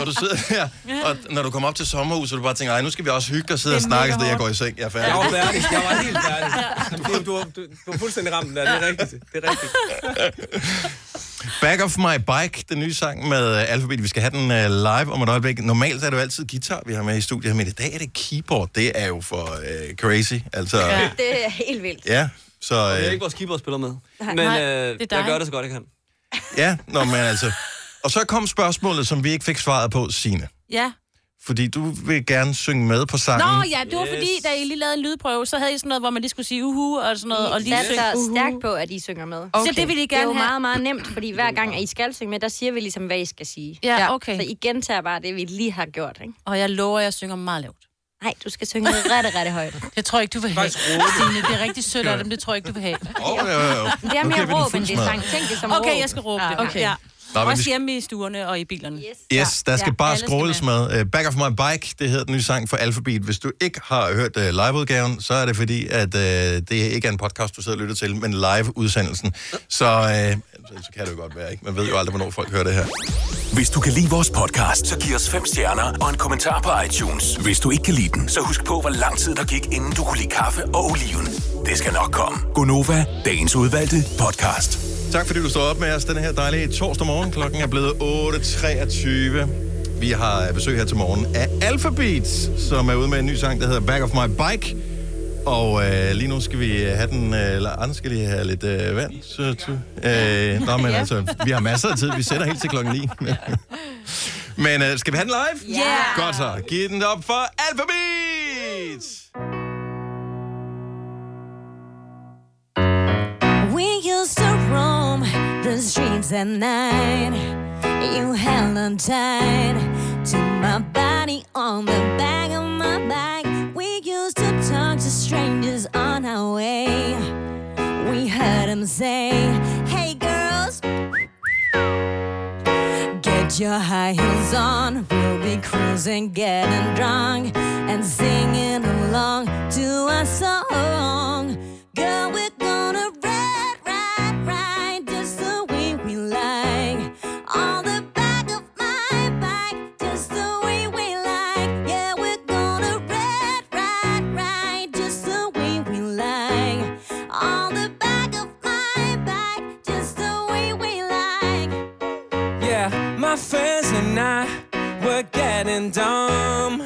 Og du sidder her, og når du kommer op til sommerhuset, og du bare tænker, ej, nu skal vi også hygge og sidde og snakke, så jeg går i seng, jeg er færdig.
Jeg var færdig. Jeg var helt færdig. Du, du, du, du var fuldstændig ramt den der. Det er rigtigt. Det er rigtigt.
Back of my bike, den nye sang med uh, Alphabet. Vi skal have den uh, live om et øjeblik. Normalt er det jo altid guitar, vi har med i studiet, men i dag er det keyboard. Det er jo for uh, crazy. Altså, ja.
Det er helt vildt.
ja. Så
Det er
øh,
ikke vores keeper, spiller med.
Nej,
men
nej,
øh,
det er
jeg
dig.
gør det så godt, jeg kan.
ja, nå, men altså. Og så kom spørgsmålet, som vi ikke fik svaret på, Sine.
Ja.
Fordi du vil gerne synge med på sangen.
Nå ja, det var fordi, da I lige lavede en lydprøve, så havde I sådan noget, hvor man lige skulle sige uhu og sådan noget, og lige
satser
synge uhu.
stærkt på, at I synger med.
Okay. Så det vil I
Det er jo
gerne
meget,
have.
meget nemt, fordi hver gang, at I skal synge med, der siger vi ligesom, hvad I skal sige.
Ja, okay.
Så I gentager bare det, vi lige har gjort, ikke?
Og jeg lover, at jeg synger meget lavt.
Nej, du skal synge rette, rette højt.
Det tror jeg ikke, du vil have. Signe, det er rigtig sødt af dem. Det tror jeg ikke, du vil have.
Åh, jo, jo, jo.
Det er
Nu
mere
giver vi den
råb, end det er
fuldsmadret.
sang. Tænk det som
Okay,
råb.
jeg skal råbe det.
Ah, okay.
Ja.
Nå, men vi
Også
skal-
hjemme i stuerne og i bilerne. Yes,
Yes, der skal ja, bare scrolles med. Øh, Back of my bike, det hedder den nye sang fra Alphabet. Hvis du ikke har hørt øh, liveudgaven, så er det fordi, at øh, det ikke er en podcast, du sidder og lytter til, men live-udsendelsen. Så, øh, så- så kan det jo godt være, ikke? Man ved jo aldrig, hvornår folk hører det her.
Hvis du kan lide vores podcast, så giv os fem stjerner og en kommentar på iTunes. Hvis du ikke kan lide den, så husk på, hvor lang tid der gik, inden du kunne lide kaffe og oliven. Det skal nok komme.
Gonova, dagens udvalgte podcast. Tak fordi du står op med os den her dejlige torsdag morgen. Klokken er blevet 8.23. Vi har besøg her til morgen af Alphabet, som er ude med en ny sang, der hedder Back of My Bike. Og øh, lige nu skal vi have den, øh, eller andre skal lige have lidt øh, vand. Så, så, øh, nå, men
Ja.
altså, vi har masser af tid. Vi sætter helt til klokken 9. men øh, skal vi have den live?
Ja.
Godt så. Giv den op for Alphabet!
We used to roam the streets at night. You held on tight to my body on the back of my back. We used to talk to strangers on our way. We heard them say, Hey girls, get your high heels on. We'll be cruising, getting drunk, and singing along to a song. Girl, we're gonna ride, ride, ride just the way we like. On the back of my bike, just the way we like. Yeah, we're gonna ride, ride, ride just the way we like. On the back of my bike, just the way we like.
Yeah, my friends and I were getting dumb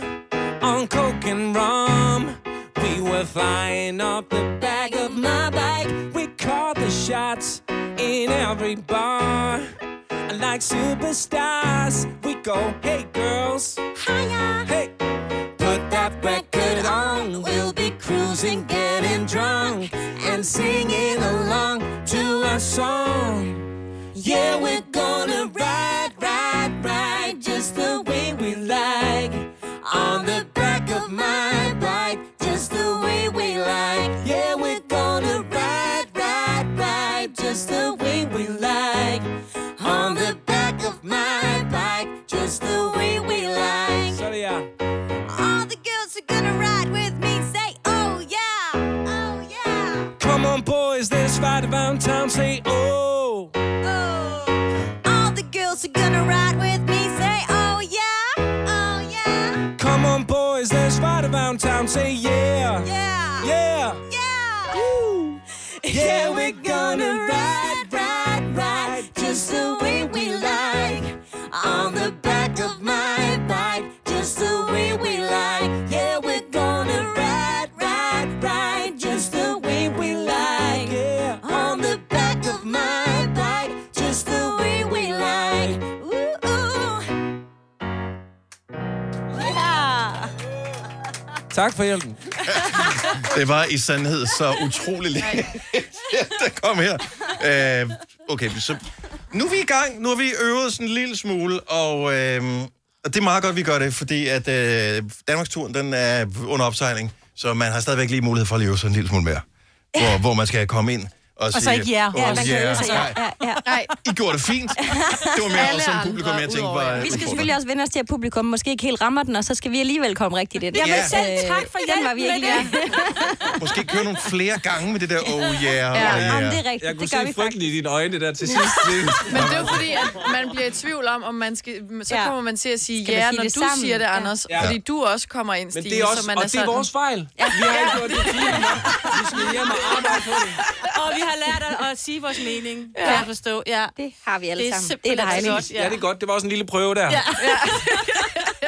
on coke and rum. We were flying off the back of my bike. We called the shots in every bar. And like superstars, we go, hey girls, hiya, hey, put that record on. We'll be cruising, getting drunk, and singing along to a song. Yeah, we're gonna ride, ride, ride just the way we like. On the back of my bike, just the way we like. Yeah, we're gonna ride, ride, ride just the way we like. On the back of my bike, just the way we like.
All the girls are gonna ride with me. Say, oh yeah. Oh,
Come on, boys, let's ride around town. Say, oh.
Oh, All the girls are gonna ride with me. Say, oh yeah. Oh yeah.
Come on, boys, let's ride around town. Say, yeah. Yeah. Yeah. Yeah. Woo. Yeah, we're gonna ride, ride, ride
just the way we like. On the back of my bike, just the way we like. Yeah, we're gonna ride, ride, ride, just the way we like. Yeah. On the back of my bike, just the way we like. Ooh, ooh. Yeah.
Tak for hjælpen.
Det var i sandhed så utrolig lidt, der kom her. Øh, okay, så nu er vi i gang. Nu har vi øvet sådan en lille smule, og, øh, og det er meget godt, vi gør det, fordi at øh, Danmarksturen den er under opsejling, så man har stadigvæk lige mulighed for at leve sig en lille smule mere. Hvor, hvor man skal komme ind og,
Og
sige...
så ikke jer.
"Åh, jer, nej."
ja.
Nej.
I gjorde det fint. Det var mere også som publikum, jeg tænkte var...
Vi skal selvfølgelig også vende os til, at publikum måske ikke helt rammer den, og så skal vi alligevel komme rigtigt ind.
Jamen, Ja. selv
tak for
Den var vi
hjælpen
ikke
med
lige.
Måske køre nogle flere gange med det der, oh yeah, ja, oh yeah.
jamen, det er rigtigt.
Jeg
kunne Det gør se vi
frygten
i dine øjne der til
sidst.
Men det er jo fordi, at man bliver i tvivl om, om man skal... Så
Ja.
kommer man til at sige
Skal man
ja,
sige
når du
det sammen?
siger det,
Ja.
Anders.
Ja.
Fordi du også kommer ind,
Men
Stine.
det er også,
så man
og
er
det er
sådan-
vores fejl. Vi har ikke gjort det fint nok. Vi skal hjem og arbejde på det.
Og vi har lært at, at sige vores mening. Ja.
Ja.
Kan jeg forstå? Ja.
Det har vi alle
det er
sammen.
Simpelthen
Det er dejligt.
Godt,
Ja. det er godt. Det var også en lille prøve der.
Ja.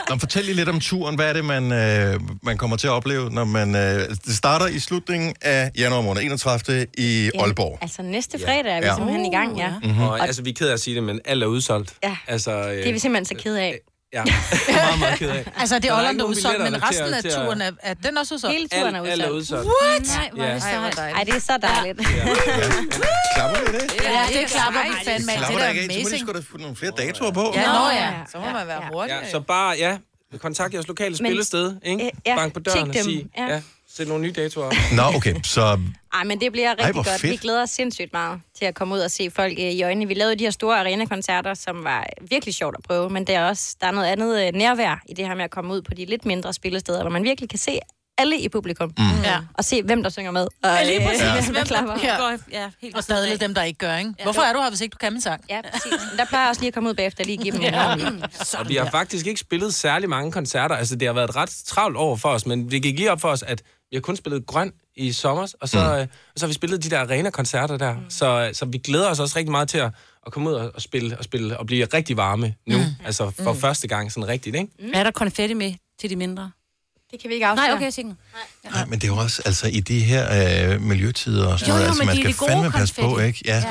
Nå, men fortæl lige lidt om turen. Hvad er det, man, øh, man kommer til at opleve, når man... Øh, det starter i slutningen af januar måned, 31. i
Jamen,
Aalborg.
Altså næste fredag er vi
Ja.
simpelthen i gang, ja.
Mm-hmm.
Mhm.
Og, altså, vi er ked af at sige det, men alt er udsolgt.
Ja.
Altså, øh,
Det er vi simpelthen så ked af.
Ja, meget, meget ked af.
Altså, det
Der
er
er
Olland,
ikke
der er
nogen
udsolgt, men
billetter til
resten
at-
af
til at-
turen er, er den også udsolgt?
Hele turen er
Alt- alt er udsolgt.
What?
Nej, hvor er det Ja. sejt.
Ej, det er så dejligt.
Klapper vi det?
Ja, det klapper vi fandme af.
Klapper
altså, Det
der
er
ikke af? Så må de
amazing.
sgu da putte nogle flere datoer på.
Ja, nå ja.
Så må man være hurtig.
Ja, så bare, ja, kontakt jeres lokale
Men-
spillested, ikke?
Øh, ja,
Bank på
tjek
døren og
dem,
sig,
ja.
ja. ja. Sæt nogle nye datoer op.
Nå, okay, så...
Ej, men det bliver rigtig
hvor
godt.
fedt.
Vi glæder os sindssygt meget til at komme ud og se folk øh, i øjnene. Vi lavede de her store arenakoncerter, som var øh, virkelig sjovt at prøve, men der er også der er noget andet øh, nærvær i det her med at komme ud på de lidt mindre spillesteder, hvor man virkelig kan se alle i publikum. Mm.
Ja.
Og se, hvem der synger med. Og,
Ja, lige
øh,
præcis.
hvem
Hvem
der
der
klapper.
går-
Ja, helt
Og stadig dem, der ikke gør, ikke? Hvorfor er du her, hvis ikke du kan en sang?
Ja, præcis. Men Der plejer jeg også lige at komme ud bagefter og lige give dem en
Ja.
hånd.
Og vi har faktisk ikke spillet særlig mange koncerter. Altså, det har været et ret travlt år for os, men det gik lige op for os, at vi har kun spillet grøn i sommer, og så, mm. øh, og så har vi spillet de der arena-koncerter der. Mm. Så, så vi glæder os også rigtig meget til at, at komme ud og, og spille og spille og blive rigtig varme nu. Mm. Altså for mm. første gang sådan rigtigt, ikke?
Er der konfetti med til de mindre?
Det kan vi ikke afsløre.
Nej, okay, sikkert.
Nej, men det er jo også, altså i de her øh, miljøtider og sådan
Jo,
noget,
jo,
altså
men
man
de er
skal
de gode
fandme passe på,
konfetti.
ikke?
Ja, det er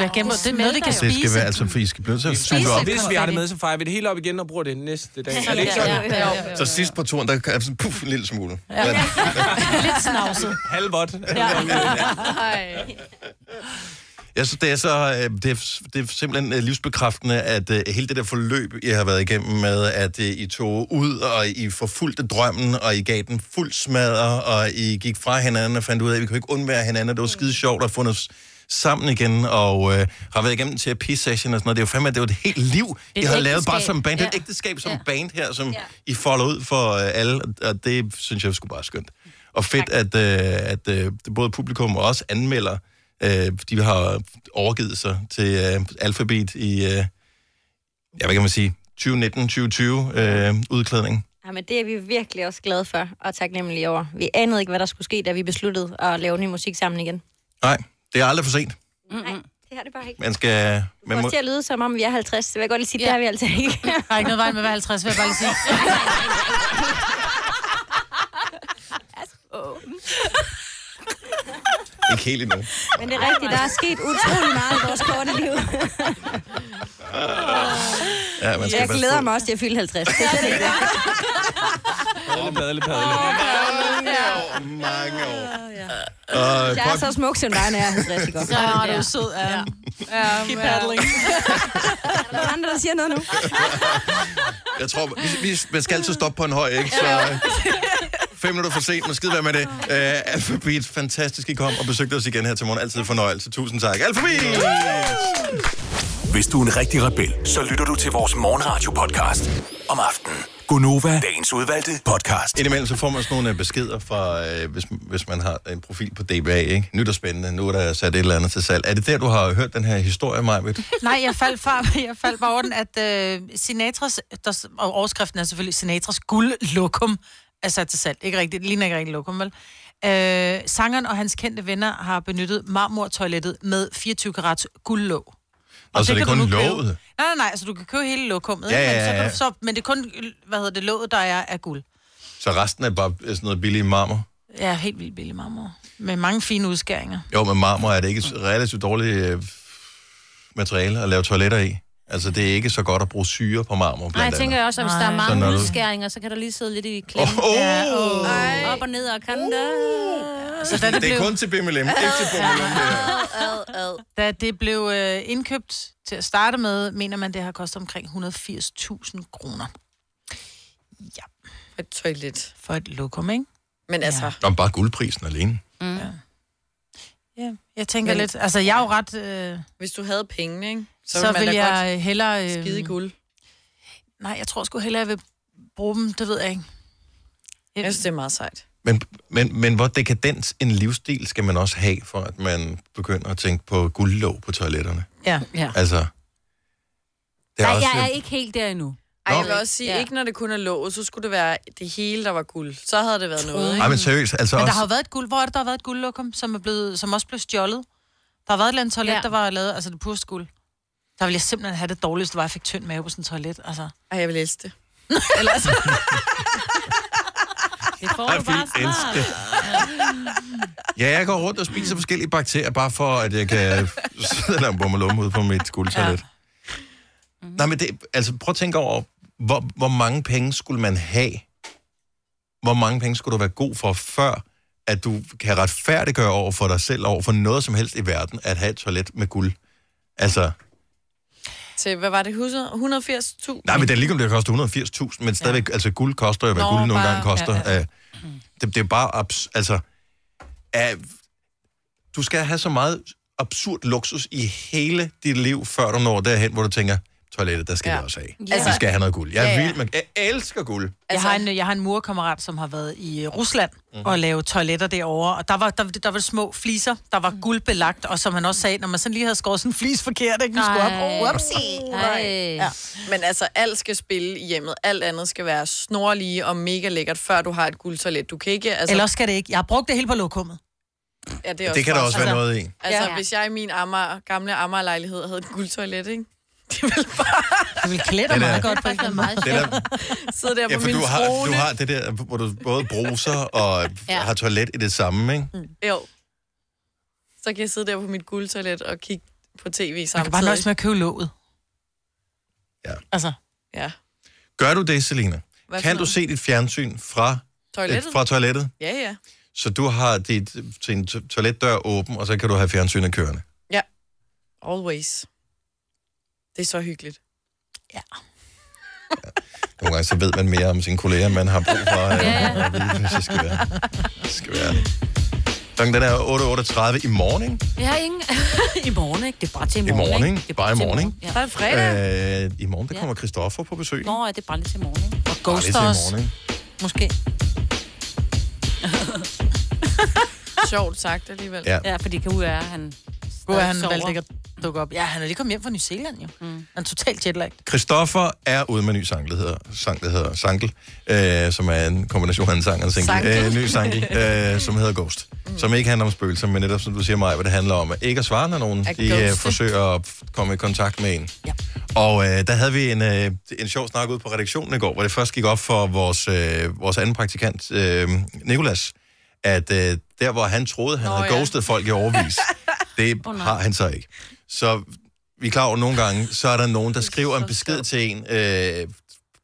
noget, det kan
Det skal
spise.
være, altså for I skal blive nødt til at suge det
Super.
op.
Hvis vi har det med, så fejrer vi det hele op igen og bruger det næste dag. Er det ikke
Ja,
sådan?
ja, ja. Så sidst på turen, der er sådan, puff, en lille smule.
Lidt snavset.
Halvot.
Jeg synes, det er så øh, det er, det er simpelthen øh, livsbekræftende, at øh, hele det der forløb, I har været igennem med, at øh, I tog ud, og I forfulgte drømmen, og I gav den fuld smadre, og I gik fra hinanden og fandt ud af, at vi kunne ikke undvære hinanden,
Mm.
og det var skide sjovt at fundet s- sammen igen, og øh, har været igennem en terapi-session og sådan noget. Det er jo fandme, det var et helt liv,
Et
I har lavet
ægteskab.
bare som band. Det er et
Ja.
ægteskab som band her, som I folder ud for øh, alle, og det synes jeg skulle bare er skønt. Og fedt, at, øh, at øh, både publikum og også anmelder, øh, de har overgivet sig til øh, Alphabet i, øh, ja, hvad kan man sige, 2019-2020 øh, udklædning.
Jamen, det er vi virkelig også glade for og taknemmelige over. Vi anede ikke, hvad der skulle ske, da vi besluttede at lave ny musik sammen igen.
Nej, det er aldrig for sent.
Mm-hmm. Nej, det har det bare ikke.
Man skal... Man
Man
må,
til at lyde, som om vi er 50. Det vil jeg godt lige sige, ja. det har vi altså ikke. Der
er ikke noget vej med at være 50, vil jeg bare lige sige.
ikke helt endnu.
Men det er rigtigt, der er sket utrolig meget i vores korte liv.
Ja, man skal
Jeg
passe
glæder
på.
mig også til at fylde 50. Det er det ikke.
Padle, padle, padle.
Mange år.
Jeg er så smuk som dig, når jeg er 50. ikke også?
Ja, du er sød, ja. ja. Keep paddling.
Er der andre, der siger noget nu?
Jeg tror, vi, vi, man skal altid stoppe på en høj, ikke? Så øh, fem minutter for sent, men skid være med det. Uh, Alphabet, fantastisk, I kom og besøgte os igen her til morgen. Altid en fornøjelse. Tusind tak. Alphabet!
Hvis du er en rigtig rebel, så lytter du til vores morgenradio-podcast om aftenen. Gunova, dagens udvalgte podcast.
Indimellem så får man sådan nogle øh, beskeder fra, øh, hvis, hvis man har en profil på DBA, ikke? Nyt og spændende, nu er der sat et eller andet til salg. Er det der, du har hørt den her historie, Majbet?
Nej, jeg faldt, fra, jeg faldt bare over den, at øh, Sinatras, der, s- og overskriften er selvfølgelig Sinatras guldlokum, er sat til salg. Ikke rigtigt, det ligner ikke rigtigt lokum, vel? Øh, sangeren og hans kendte venner har benyttet marmortoilettet med 24 karats guldlåg.
Og så er det
kan du
kun
nu købe.
låget?
Nej, nej, nej, altså du kan købe hele lokummet,
Ja,
ikke?
ja,
men, så
ja.
kan du, så, men det er kun, hvad hedder det, låget, der er af guld.
Så resten er bare øh, sådan noget billig marmor?
Ja, helt vildt billig marmor. Med mange fine udskæringer.
Jo, men marmor er det ikke et relativt dårligt øh, materiale at lave toiletter i. Altså, det er ikke så godt at bruge syre på marmor, blandt
Nej, jeg tænker jeg også, at hvis der er
Så
mange
når du-
udskæringer, så kan der lige sidde lidt i klemme.
Åh, åh.
Ja, åh. Op og ned og kanter.
Så da det
det er
blev-
kun til Bimmelim, ikke til Bummelem.
Da det blev øh, indkøbt til at starte med, mener man, det har kostet omkring 180.000 kroner. Ja.
For et toilet.
For et lokum, ikke?
Men altså...
Nå, men bare guldprisen alene.
Mm. Ja. ja. Jeg tænker Men, lidt... Altså, jeg er jo ret... Øh,
Hvis du havde pengene, ikke?
så,
ville
så
man
vil
da
jeg
godt
hellere... Øh,
skide i guld.
Nej, jeg tror sgu hellere, jeg vil bruge dem. Det ved jeg ikke. Jeg
synes, det er meget sejt.
Men, men, men hvor dekadent en livsstil skal man også have, for at man begynder at tænke på guldlåg på toiletterne?
Ja. ja.
Altså, det er
Nej,
også...
jeg er ikke helt der endnu.
Ej, jeg vil også sige, ja. ikke når det kun er låget, så skulle det være det hele, der var guld. Så havde det været noget, ikke?
Ej, men seriøst, altså
Men der
også...
har jo været et guld... Hvor er det, der har været et guldlokum, som, er blevet, som også blev stjålet? Der har været et eller andet toilet, ja. der var lavet... Altså, det purste guld. Der ville jeg simpelthen have det dårligste, var, at jeg fik tynd mave på sådan et toilet. Altså.
Ej, jeg vil elske det.
Ellers...
det får
du bare snart. Ja, jeg går rundt og spiser forskellige bakterier, bare for at jeg kan sidde og lave en bummelum ud på mit guldtoilet. Ja. Nej, men det, altså, prøv at tænke over, hvor, hvor mange penge skulle man have? Hvor mange penge skulle du være god for, før at du kan retfærdiggøre over for dig selv, over for noget som helst i verden, at have et toilet med guld? Altså,
Til, hvad var det, 100 180.000?
nej, men det er ligegyldigt, at det koster 180.000, men stadigvæk, ja. altså guld koster jo, hvad
Nå,
guld nogle
bare-
gange koster.
ja,
Ja,
ja.
ja. Det, det er bare, abs- altså, af, du skal have så meget absurd luksus i hele dit liv, før du når derhen, hvor du tænker, toilettet, der skal ja. vi også have.
Ja.
Ja. Vi skal have noget guld. Jeg,
Ja,
ja,
ja.
ja. Vil, jeg elsker guld.
Jeg
Altså-
har, en, jeg har en murkammerat, som har været i øh, Rusland mm.
Mhm.
og lavet toiletter derovre, og der var, der, der var små fliser, der
Mhm.
var guldbelagt, og som han også sagde, når man sådan lige havde skåret sådan en flis forkert, ikke? Nu skulle op.
Ej.
Oh, whoopsie.
Nej. Ja. Men altså, alt skal spille i hjemmet. Alt andet skal være snorlige og mega lækkert, før du har et guldtoilet. Du kan ikke... Altså,
Altså, Ellers skal det ikke. Jeg har brugt det hele på lokummet.
ja, det,
Det kan der
smart.
også være
altså,
noget i.
Altså,
Ja,
ja.
ja.
hvis jeg i min Amager, gamle Amager-lejlighed havde et guldtoilet, ikke?
Det vil klæde dig
Den er-
meget godt, for det er meget
den er-
Sidde der
Ja,
på
for
min
du har, du
trone.
har det der, hvor du både bruser og
Ja.
ja. har toilet i det samme, ikke?
Jo. Så kan jeg sidde der på mit guldtoilet og kigge på tv samtidig.
Man kan bare nøjes med at købe låget.
Ja.
Altså.
Ja.
Gør du det, Selina?
Hvad for
Kan du
noget?
se dit fjernsyn fra
Toilettet?
øh, Fra toilettet?
Ja, ja.
Så du har dit øh, til en to- toiletdør åben, og så kan du have fjernsynet kørende.
Ja. Always. Det er så hyggeligt.
Nogle gange så ved man mere om sine kolleger, end man har brug for. Øh,
Ja,
ja. Det skal være. Det skal være. Klokken den er 8.38 i morgen, ikke?
Jeg har ingen... I morgen, ikke? Det er bare til i
I
morgen,
morgen,
ikke?
ikke? Det er bare i morgen, ikke?
Ja. Bare en
Øh, I morgen, der kommer Christoffer på besøg.
Nå, ja, det er bare lidt til i morgen, ikke? Og
Bare
ghost
lidt til i
os.
morgen, ikke?
Måske.
Sjovt sagt alligevel.
Ja.
ja, fordi kan er, han...
Gud, han
sover.
valgte ikke at dukke op. Ja, han er lige kommet hjem fra New Zealand, jo. Mm. Han er totalt jetlagt.
Christoffer er ude med en ny sang, der hedder, sang, der hedder Sankel, øh, som er en kombination af en sang og en single.
Sankel.
Øh, en ny sankel, øh, som hedder Ghost. Mm. Som ikke handler om spøgelser, men netop som du siger mig, hvad det handler om, at ikke at svare, når nogen
At
de, øh,
ghoste.
forsøger at f- komme i kontakt med en. Ja. Og øh, der havde vi en, øh, en sjov snak ude på redaktionen i går, hvor det først gik op for vores, øh, vores anden praktikant, øh, Nikolas, at øh, der, hvor han troede, han Nå, havde
ja.
ja. ghostet folk i overvis, det oh, har han så ikke. Så vi er klar over, at nogle gange, så er der nogen, der skriver en besked til en øh,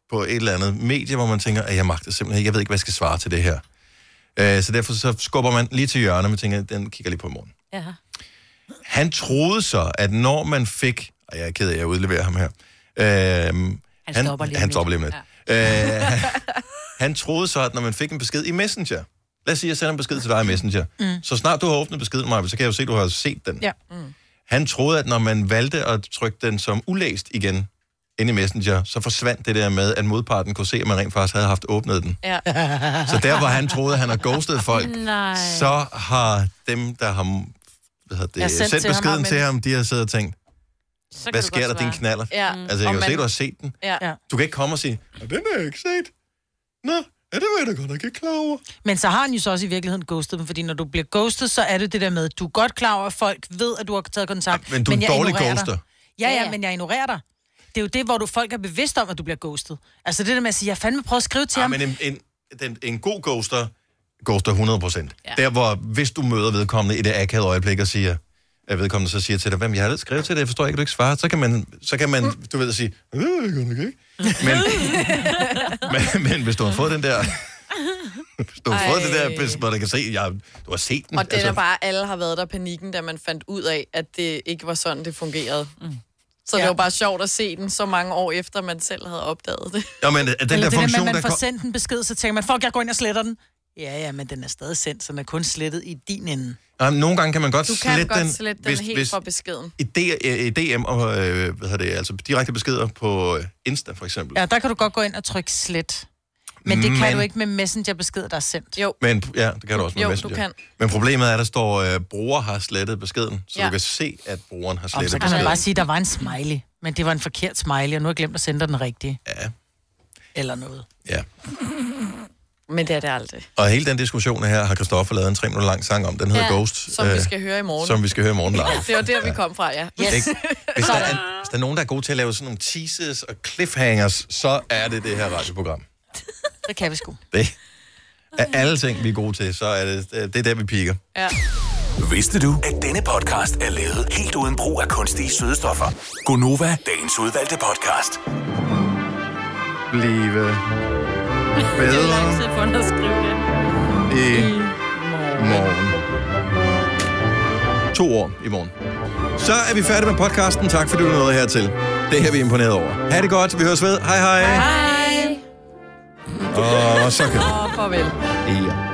på et eller andet medie, hvor man tænker, at jeg magter simpelthen ikke, jeg ved ikke, hvad jeg skal svare til det her. Øh, så derfor så skubber man lige til hjørnet, og man tænker, den kigger lige på i morgen.
Ja.
Han troede så, at når man fik... Og jeg er ked af, at jeg udleverer ham her. Øhm, han
stopper lige om
han
lidt.
stopper lige om lidt. Ja. Øh, han, han troede så, at når man fik en besked i Messenger... Lad os sige, at jeg sender en besked til dig i Messenger. Mm.
Mm.
Så snart du har åbnet beskeden, Maja, så kan jeg jo se, at du har set den.
Ja.
Han troede, at når man valgte at trykke den som ulæst igen inde i Messenger, så forsvandt det der med, at modparten kunne se, at man rent faktisk havde haft åbnet den.
Ja.
Så der, hvor han troede, at han har ghostet folk,
Nej.
så har dem, der har hvad hedder
Ja,
det,
sendt
sendt,
til
sendt
ham,
beskeden
men-
til ham, de har siddet og tænkt,
Så
hvad sker der, din knaller?
Ja.
Altså, jeg
Og
kan jo se,
man-
du har set den.
Ja.
ja.
Du kan ikke komme og sige, "Nå, den har jeg ikke set. Nå, ja, det var jeg da godt nok ikke klar over.
Men så har han jo så også i virkeligheden ghostet dem, fordi når du bliver ghostet, så er det det der med, at du er godt klar over, at folk ved, at du har taget kontakt.
men du er en
jeg
dårlig
ignorerer
ghoster.
Dig. Ja, ja, men jeg ignorerer dig. Det er jo det, hvor du folk er bevidst om, at du bliver ghostet. Altså det der med at sige, jeg fandme prøver at skrive til
Ja,
ham.
Ah, men en, en, den, en god ghoster, ghoster 100 procent. Ja. Der, hvor hvis du møder vedkommende i det akavede øjeblik og siger, at vedkommende så siger til dig, hvem jeg har aldrig skrevet til dig, jeg forstår ikke, at du ikke svarer, så kan man, så kan man du ved, sige, "Øh, det er godt nok ikke. Men, men, men hvis du har fået den der... hvis du har fået
Ej.
det der, hvis man kan se, jeg, du har set den. Altså,
Og den er bare, alle har været der i panikken, da man fandt ud af, at det ikke var sådan, det fungerede. Mm. Så ja. det var bare sjovt at se den så mange år efter, man selv havde opdaget det.
Jo, men øh, den
Eller
der
det der med,
funktion,
at
der
man får
kom...
sendt en besked, så tænker man, fuck, jeg går ind og sletter den. Ja, ja, men den er stadig sendt, så den er kun slettet i din ende.
Jamen, nogle gange kan man godt
Du kan
slette
godt
den,
slette den
hvis,
helt
hvis
fra beskeden.
I, D, øh, i DM, og, øh, hvad hedder det, altså direkte beskeder på øh, Insta, for eksempel.
Ja, der kan du godt gå ind og trykke slet. Men det kan
Men-
du ikke med messengerbeskeder, der er sendt.
Jo.
Men, ja, det kan du også med
Jo, du
Messenger.
kan.
Men problemet er, at der står, øh, bruger har slettet beskeden, så
Ja.
ja. du kan se, at brugeren har
Om,
slettet
så kan man
beskeden.
bare sige, at der var en smiley, men det var en forkert smiley, og nu har jeg glemt at sende dig den rigtige.
Ja.
Eller noget.
Ja.
Men det er det aldrig.
Og hele den diskussion her har Christoffer lavet en tre minutter lang sang om. Den hedder
Ja,
Ghost.
som vi
øh,
skal høre i morgen.
Som vi skal høre i morgen live.
Det var der, vi kom fra, ja.
Ikke? Hvis, der er, hvis der er nogen, der er gode til at lave sådan nogle teases og cliffhangers, så er det det her radioprogram.
Det kan vi sgu.
Det er alle ting, vi er gode til, så er det, øh, det er der, vi piker.
Ja.
Vidste du, at denne podcast er lavet helt uden brug af kunstige sødestoffer?
Gonova.
Dagens udvalgte podcast.
Blive
lang
bedre
tid for dig at skrive det.
i morgen. To år i morgen. Så er vi færdige med podcasten. Tak fordi du nåede hertil. Det her vi er imponeret over. Ha' det godt. Vi høres ved. Hej hej.
Hej.
Og så kan
Og farvel.
Ja.